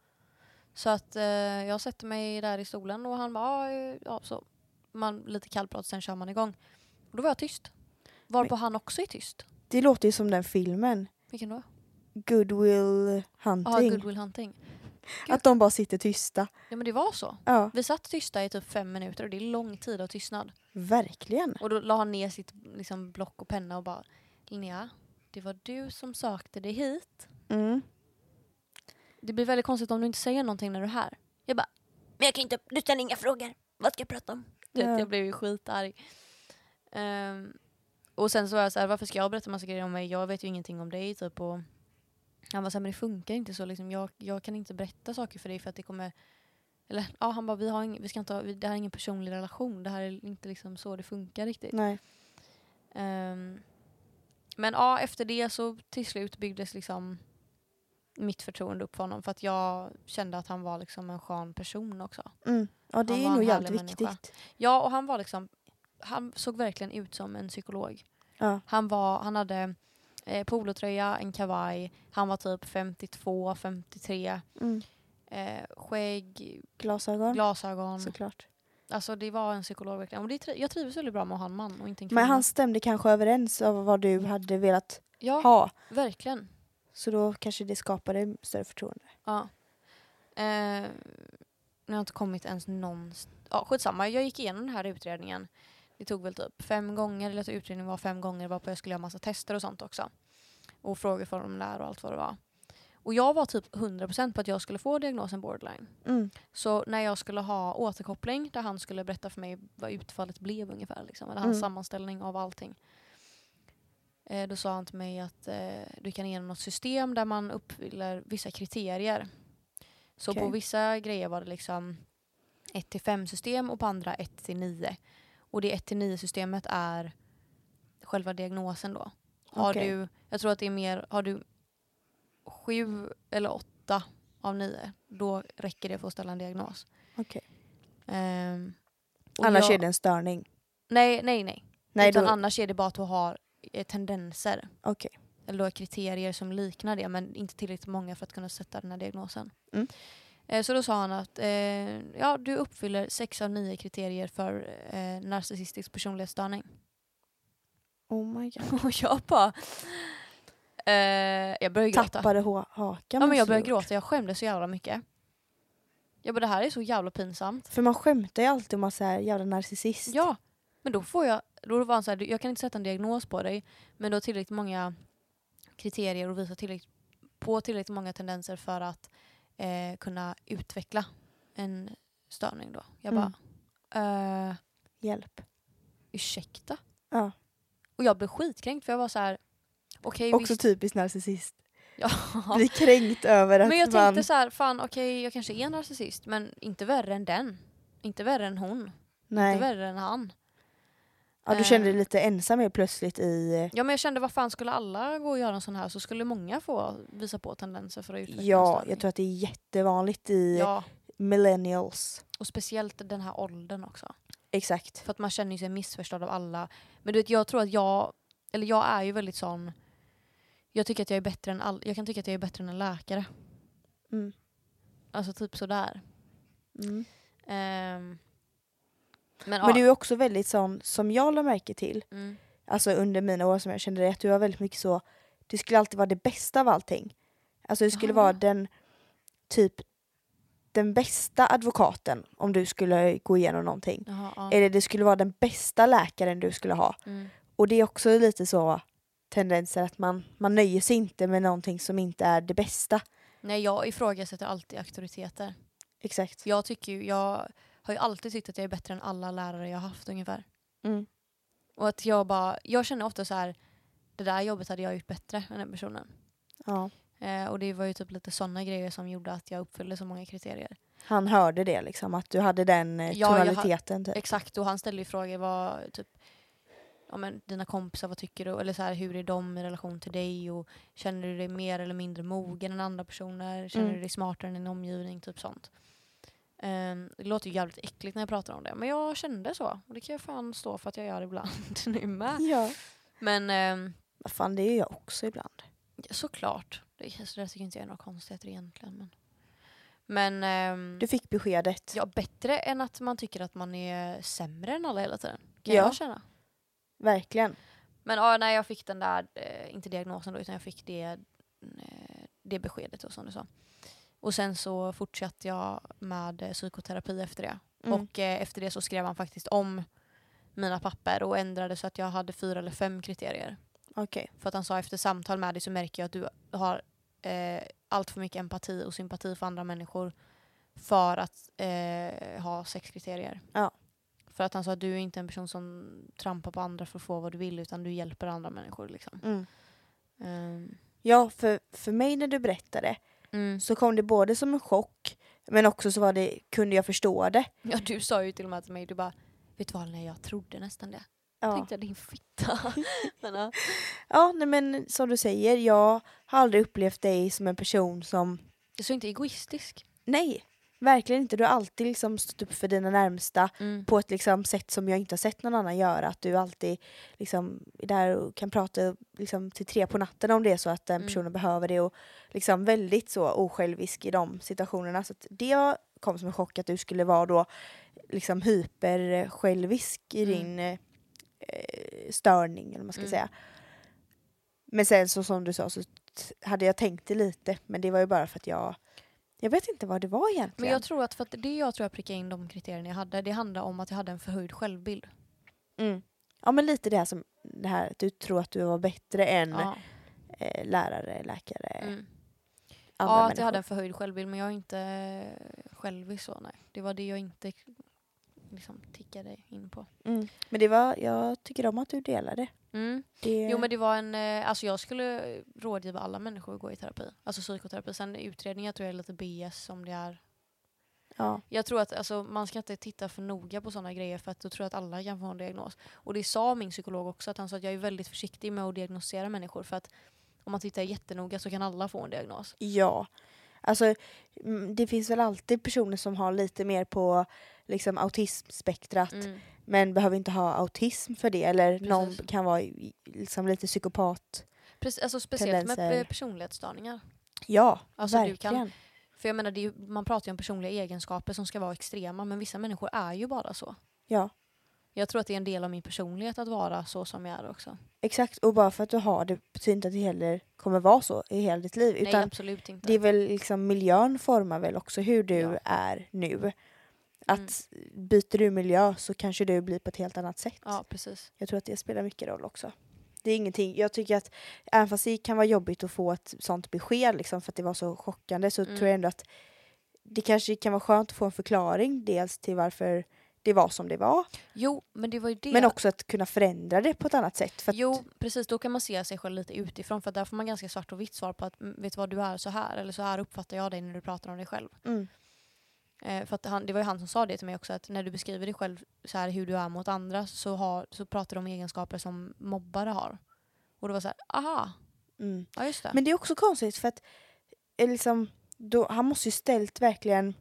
A: Så att eh, jag sätter mig där i stolen och han bara... "Ah, eh, Ja, så man lite kallprat, sen kör man igång. Och då var jag tyst. Varpå han också är tyst.
B: Det låter ju som den filmen,
A: Vilken då?
B: Goodwill Hunting.
A: Ja, Goodwill Hunting.
B: Att de bara sitter tysta.
A: Ja, men det var så.
B: Ja,
A: Vi satt tysta i typ fem minuter och det är lång tid av tystnad.
B: verkligen.
A: Och då la han ner sitt liksom, block och penna och bara Linnea, det var du som sökte dig hit.
B: Mm.
A: Det blir väldigt konstigt om du inte säger någonting när du är här. Jag bara, men jag kan inte, du ställer inga frågor. Vad ska jag prata om? Du
B: Ja.
A: vet, jag blev ju skitarg. Ehm, och sen så var jag så här, varför ska jag berätta massa grejer om mig? Jag vet ju ingenting om dig. Typ, och han var så här, men det funkar inte så. Liksom, jag, jag kan inte berätta saker för dig för att det kommer... Eller ja, han bara, vi har ing, vi ska inte ha, vi, det här är ingen personlig relation. Det här är inte liksom så det funkar riktigt.
B: Nej.
A: Ehm, men ja, efter det så till slut byggdes liksom mitt förtroende upp för honom för att jag kände att han var liksom en skön person också.
B: Mm. Ja, det
A: Han var
B: är ju
A: en
B: nog
A: härlig
B: jävligt
A: människa.
B: viktigt.
A: Ja, och han var liksom han såg verkligen ut som en psykolog.
B: Ja.
A: Han, var, han hade eh, polotröja, en kavaj, han var typ 52, 53.
B: Mm.
A: eh, skägg,
B: Glasögon.
A: glasögon.
B: Såklart.
A: Alltså det var en psykolog verkligen. Och det, tri- jag trivs väldigt bra med att ha en man och inte en kvinna.
B: Men han stämde kanske överens av vad du hade velat
A: ja,
B: ha.
A: verkligen.
B: Så då kanske det skapade större förtroende.
A: Ja. Eh, nu har jag inte kommit ens någonstans. Ja, skitsamma, jag gick igenom den här utredningen. Det tog väl typ fem gånger, eller att utredningen var fem gånger varpå jag skulle göra massa tester och sånt också. Och frågeformulär och allt vad det var. Och jag var typ 100% på att jag skulle få diagnosen borderline.
B: Mm.
A: Så när jag skulle ha återkoppling där han skulle berätta för mig vad utfallet blev ungefär, liksom, eller hans
B: Mm.
A: sammanställning av allting. Eh, då sa han till mig att eh, du kan igenom något system där man uppfyller vissa kriterier. Så på
B: Okej.
A: vissa grejer var det liksom 1-5 system och på andra 1-9. Och det 1-9 systemet är själva diagnosen då. Har
B: Okej.
A: du, jag tror att det är mer, har du sju eller åtta av nio, då räcker det för att ställa en diagnos.
B: Okej.
A: Ehm, och
B: Annars
A: jag,
B: är det en störning.
A: Nej, nej, nej.
B: Nej, då,
A: Utan annars är det bara att du har eh, tendenser.
B: Okej.
A: Eller du har kriterier som liknar det, men inte tillräckligt många för att kunna sätta den här diagnosen.
B: Mm.
A: Eh, så då sa han att eh, ja, du uppfyller sex av nio kriterier för eh, narcissistisk personlighetsstörning.
B: oh my god.
A: Och jag bara... Eh, jag började gråta.
B: Tappade ha- hakan.
A: Ja, men
B: måste
A: jag började
B: du gjort.
A: gråta, jag skämdes så jävla mycket. Jag bara, det här är så jävla pinsamt.
B: För man skämtar ju alltid om man är jävla narcissist.
A: Ja, men då får jag... Då var han så här, "Du, jag kan inte sätta en diagnos på dig, men du har tillräckligt många kriterier och visar tillräckligt, på tillräckligt många tendenser för att eh, kunna utveckla en störning då. Jag
B: Mm.
A: bara, eh,
B: Hjälp.
A: ursäkta?
B: Ja.
A: Och jag blev skitkränkt för jag var så här, okej
B: Också typ
A: visst.
B: typiskt narcissist.
A: Ja.
B: Bli kränkt över att
A: Men jag
B: man...
A: tänkte så här, fan okej jag kanske är narcissist men inte värre än den. Inte värre än hon. Inte
B: Nej.
A: värre än han.
B: Ja, du
A: eh,
B: kände dig lite ensam helt plötsligt i...
A: Ja men jag kände vad fan skulle alla gå och göra en sån här så skulle många få visa på tendenser för att utveckla en
B: Ja,
A: störning.
B: jag tror att det är jättevanligt i
A: Ja,
B: millennials.
A: och speciellt den här åldern också.
B: Exakt.
A: För att man känner ju sig missförstådd av alla. Men du vet jag tror att jag, eller jag är ju väldigt sån jag tycker att jag är bättre än all, jag kan tycka att jag är bättre än en läkare.
B: Mm.
A: Alltså typ sådär.
B: Mm.
A: Ehm, men, ja,
B: Men du är också väldigt sån, som jag la märke till,
A: mm,
B: alltså under mina år som jag kände dig, att du var väldigt mycket så, du skulle alltid vara det bästa av allting. Alltså du skulle
A: Jaha.
B: vara den, typ, den bästa advokaten om du skulle gå igenom någonting.
A: jaha, ja.
B: Eller det skulle vara den bästa läkaren du skulle ha.
A: Mm.
B: Och det är också lite så tendenser att man, man nöjer sig inte med någonting som inte är det bästa.
A: Nej, jag ifrågasätter alltid auktoriteter.
B: Exakt.
A: Jag, tycker ju, jag har ju alltid tyckt att jag är bättre än alla lärare jag har haft ungefär.
B: Mm.
A: Och att jag bara, jag känner ofta så här, det där jobbet hade jag gjort bättre än den personen.
B: Ja.
A: Eh, och det var ju typ lite sådana grejer som gjorde att jag uppfyllde så många kriterier.
B: Han hörde det liksom, att du hade den eh,
A: Ja, jag har-
B: tonaliteten. typ.
A: Exakt, och han ställde ju frågor, vad typ, ja men dina kompisar, vad tycker du? Eller så här, hur är de i relation till dig? Och känner du dig mer eller mindre mogen än andra personer? Känner
B: Mm.
A: du dig smartare än din omgivning? Typ sånt. Ehm, det låter ju jävligt äckligt när jag pratar om det, men jag kände så. Och det kan jag fan stå för att jag gör ibland nu med.
B: Ja.
A: Men ehm,
B: Vad fan, det är jag också ibland.
A: såklart, det, så det där tycker inte jag är några konstigheter egentligen. Men, men ehm,
B: Du fick beskedet.
A: ja, bättre än att man tycker att man är sämre än alla hela tiden. Kan
B: Ja.
A: jag känna.
B: Verkligen.
A: Men ja, när jag fick den där, eh, inte diagnosen då, utan jag fick det, eh, det beskedet då, som du sa. Och sen så fortsatte jag med eh, psykoterapi efter det.
B: Mm.
A: Och eh, efter det så skrev han faktiskt om mina papper och ändrade så att jag hade fyra eller fem kriterier.
B: Okej.
A: För att han sa efter samtal med dig så märker jag att du har eh, allt för mycket empati och sympati för andra människor för att eh, ha sex kriterier.
B: Ja.
A: För att han sa att du är inte en person som trampar på andra för att få vad du vill utan du hjälper andra människor. Liksom.
B: Mm.
A: Ehm,
B: Ja, för, för mig när du berättade
A: mm.
B: så kom det både som en chock men också så var det, kunde jag förstå det.
A: Ja, du sa ju till och med till mig, du bara Vet du vad Alina, jag trodde nästan det.
B: Ja,
A: Tänkte jag din fitta. Men, ja.
B: ja nej, men som du säger, jag har aldrig upplevt dig som en person som
A: Det är så inte egoistisk.
B: Nej, Verkligen inte. Du har alltid liksom stått upp för dina närmsta
A: Mm.
B: på ett liksom sätt som jag inte har sett någon annan göra. Att du alltid liksom är där och kan prata liksom till tre på natten om det är så att den
A: Mm.
B: personen behöver det. Och liksom väldigt så osjälvisk i de situationerna. Så att det kom som en chock att du skulle vara då liksom hypersjälvisk i
A: Mm.
B: din eh, eh, störning eller vad man ska
A: Mm.
B: säga. Men sen så som du sa så t- hade jag tänkt det lite men det var ju bara för att jag jag vet inte vad det var egentligen.
A: Men jag tror att för att det jag tror jag prickade in de kriterierna jag hade, det handlar om att jag hade en förhöjd självbild.
B: Mm. Ja men lite det här som det här att du tror att du var bättre än
A: Ja,
B: eh, lärare, läkare,
A: mm.
B: andra
A: ja att
B: människor.
A: jag hade en förhöjd självbild men jag är inte eh, självisk så nej. Det var det jag inte liksom tickade in på.
B: mm. Men det var, jag tycker om att du delade.
A: Mm.
B: Det,
A: Jo men det var en, eh, alltså jag skulle rådgiva alla människor att gå i terapi. Alltså psykoterapi. Sen utredningar tror jag är lite BS om det är.
B: ja.
A: Jag tror att alltså, man ska inte titta för noga på sådana grejer för att då tror jag att alla kan få en diagnos. Och det sa min psykolog också, att han sa att jag är väldigt försiktig med att diagnostisera människor för att om man tittar jättenoga så kan alla få en diagnos.
B: ja. Alltså mm, det finns väl alltid personer som har lite mer på liksom autismspektrat men behöver inte ha autism för det eller
A: Mm. Precis.
B: någon kan vara i- liksom lite psykopat.
A: Precis, alltså speciellt med
B: Tendenser.
A: eh, personlighetsstörningar.
B: Ja,
A: Alltså, du
B: verkligen.
A: kan- För jag menar, det är ju, man pratar ju om personliga egenskaper som ska vara extrema men vissa människor är ju bara så.
B: Ja.
A: Jag tror att det är en del av min personlighet att vara så som jag är också.
B: Exakt, och bara för att du har det betyder inte att det heller kommer vara så i hela ditt liv.
A: Nej
B: Utan
A: absolut inte.
B: det är väl liksom miljön formar väl också hur du
A: Ja. Mm.
B: är nu. Att byter du miljö så kanske du blir på ett helt annat sätt.
A: Ja precis.
B: Jag tror att det spelar mycket roll också. Det är ingenting, jag tycker att även fast det kan vara jobbigt att få ett sånt besked liksom för att det var så chockande så
A: Mm.
B: tror jag ändå att det kanske kan vara skönt att få en förklaring dels till varför det var som det var
A: Jo men det var ju det.
B: men också att kunna förändra det på ett annat sätt. För att,
A: Jo, precis. Då kan man se sig själv lite utifrån för att där får man ganska svart och vitt svar på att "Mm, vet du vad, du är så här eller så här uppfattar jag dig när du pratar om dig själv.
B: mm,
A: Eh, för att han, det var ju han som sa det till mig också att när du beskriver dig själv så här hur du är mot andra så, har, så pratar du om egenskaper som mobbare har. Och det var så här, aha,
B: mm.
A: ja just det.
B: Men det är också konstigt för att eh, liksom, då, han måste ju ställt verkligen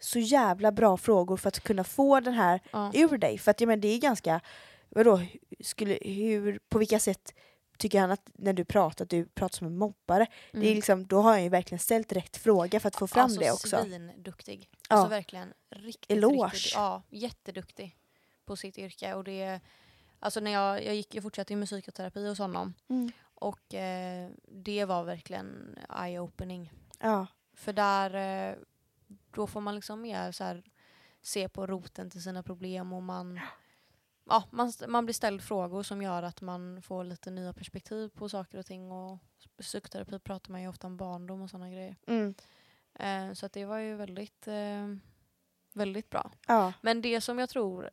B: så jävla bra frågor för att kunna få den här
A: ja.
B: ur dig. För att jag menar, det är ganska, vadå, hu- skulle, hur, på vilka sätt tycker han att när du pratar, att du pratar som en mobbare? Det är
A: Mm.
B: liksom, då har han ju verkligen ställt rätt fråga för att få fram
A: alltså,
B: det också.
A: svinduktig.
B: Ja.
A: Alltså verkligen riktigt,
B: Eloge.
A: riktigt, ja, jätteduktig på sitt yrke. Och det, alltså när jag, jag, gick, jag fortsatte ju musikterapi hos honom
B: Mm.
A: och eh, det var verkligen eye-opening.
B: Ja,
A: För där, eh, då får man liksom mer så här, se på roten till sina problem och man, ja, man, st- man blir ställd frågor som gör att man får lite nya perspektiv på saker och ting. Och psykoterapi pratar man ju ofta om barndom och sådana grejer.
B: mm.
A: Eh, så att det var ju väldigt, eh, väldigt bra.
B: ja,
A: Men det som jag tror,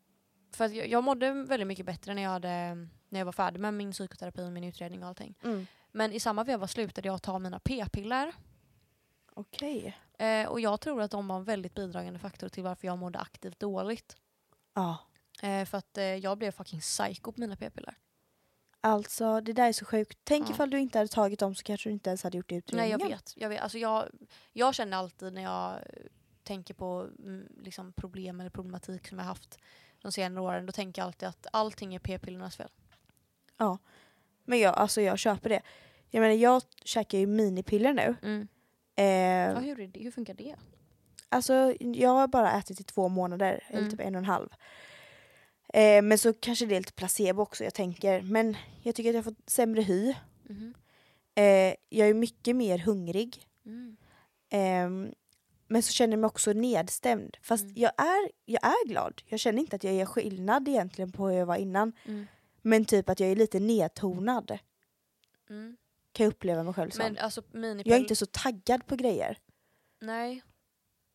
A: för att jag, jag mådde väldigt mycket bättre när jag, hade, när jag var färdig med min psykoterapi och min utredning och allting.
B: mm.
A: Men i samma veva slutade jag ta mina p-piller.
B: okej.
A: Eh, och jag tror att de var en väldigt bidragande faktor till varför jag mådde aktivt dåligt.
B: Ja.
A: Eh, för att eh, jag blev fucking psycho på mina p-piller.
B: Alltså det där är så sjukt. Tänk
A: Ja.
B: ifall du inte hade tagit dem så kanske du inte ens hade gjort
A: Nej
B: utredningen.
A: jag vet. Jag, vet. Alltså, jag, jag känner alltid när jag eh, tänker på mm, liksom, problem eller problematik som jag haft de senare åren, då tänker jag alltid att allting är p-pillernas fel.
B: Men jag, alltså jag köper det. Jag menar jag käkar ju minipiller nu.
A: Mm. Ja,
B: Eh,
A: hur, är det, hur funkar det?
B: alltså jag har bara ätit i två månader, eller
A: Mm.
B: typ en och en halv. Eh, men så kanske det är lite placebo också jag tänker. Men jag tycker att jag har fått sämre hy.
A: Mhm.
B: Eh, jag är mycket mer hungrig.
A: Mm.
B: Ehm, men så känner jag mig också nedstämd. Fast
A: Mm.
B: jag, är, jag är glad. Jag känner inte att jag gör skillnad egentligen på hur jag var innan.
A: Mm.
B: Men typ att jag är lite nedtonad.
A: Mm.
B: Kan jag uppleva mig själv som.
A: Men alltså minipiller...
B: jag är inte så taggad på grejer.
A: Nej.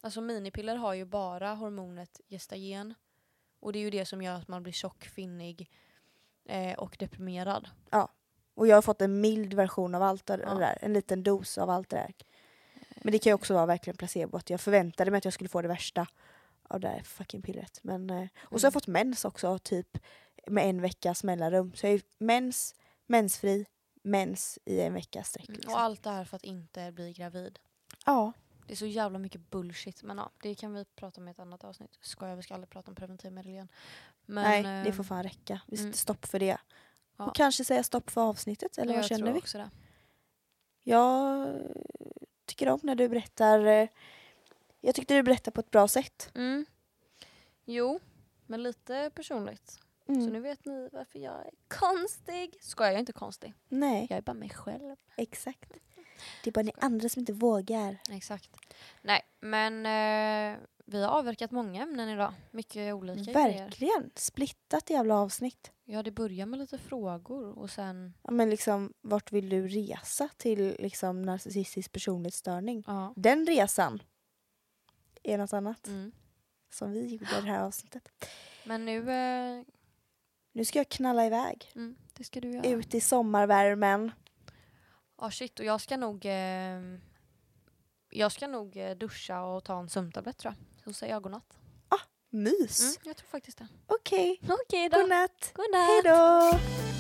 A: Alltså minipiller har ju bara hormonet gestagen. Och det är ju det som gör att man blir tjock, finnig eh, och deprimerad.
B: Och jag har fått en mild version av allt det
A: Ja.
B: där. En liten dos av allt det där. Men det kan ju också vara verkligen placebo. Att jag förväntade mig att jag skulle få det värsta av det där fucking pillret. Men, eh, och så har
A: Mm.
B: jag fått mens också, typ med en veckas mellanrum. Så jag är ju mens,
A: Mm,
B: mensfri, mens i en veckas sträck. Liksom.
A: Och allt det här för att inte bli gravid.
B: Ja,
A: Det är så jävla mycket bullshit. Men ja, det kan vi prata om i ett annat avsnitt. Skojar, vi ska aldrig prata om preventivmedel igen. Men,
B: Nej, det
A: ehm,
B: får fan räcka. Vi sätter
A: mm.
B: stopp för det.
A: Ja.
B: Och kanske säga stopp för avsnittet, eller
A: jag
B: vad känner
A: tror
B: vi?
A: Också det.
B: Jag tycker om när du berättar. eh, Jag tyckte du berättar på ett bra sätt.
A: Mm. Jo, men lite personligt. Mm. Så nu vet ni varför jag är konstig. Skojar, jag är inte konstig.
B: Nej,
A: Jag är bara mig själv.
B: exakt. Det är bara ni andra som inte vågar.
A: Exakt. Nej, men eh, vi har avverkat många ämnen idag. Mycket olika grejer.
B: Verkligen. Splittat jävla avsnitt.
A: Ja, det börjar med lite frågor och sen...
B: Ja, men liksom, vart vill du resa till liksom, narcissistisk personlighetsstörning?
A: Ja.
B: Den resan är något annat
A: Mm.
B: som vi gjorde i det här avsnittet.
A: Men nu... Eh,
B: Nu ska jag knalla iväg.
A: mm, det ska du göra.
B: Ut i sommarvärmen.
A: Ja shit, och jag ska nog eh, jag ska nog eh, duscha och ta en sömntablett tror jag. Så säger jag godnatt.
B: Mys.
A: Mm, jag tror faktiskt det.
B: Okej,
A: Okej
B: godnatt.
A: Godnatt.
B: Hej då.
A: Hej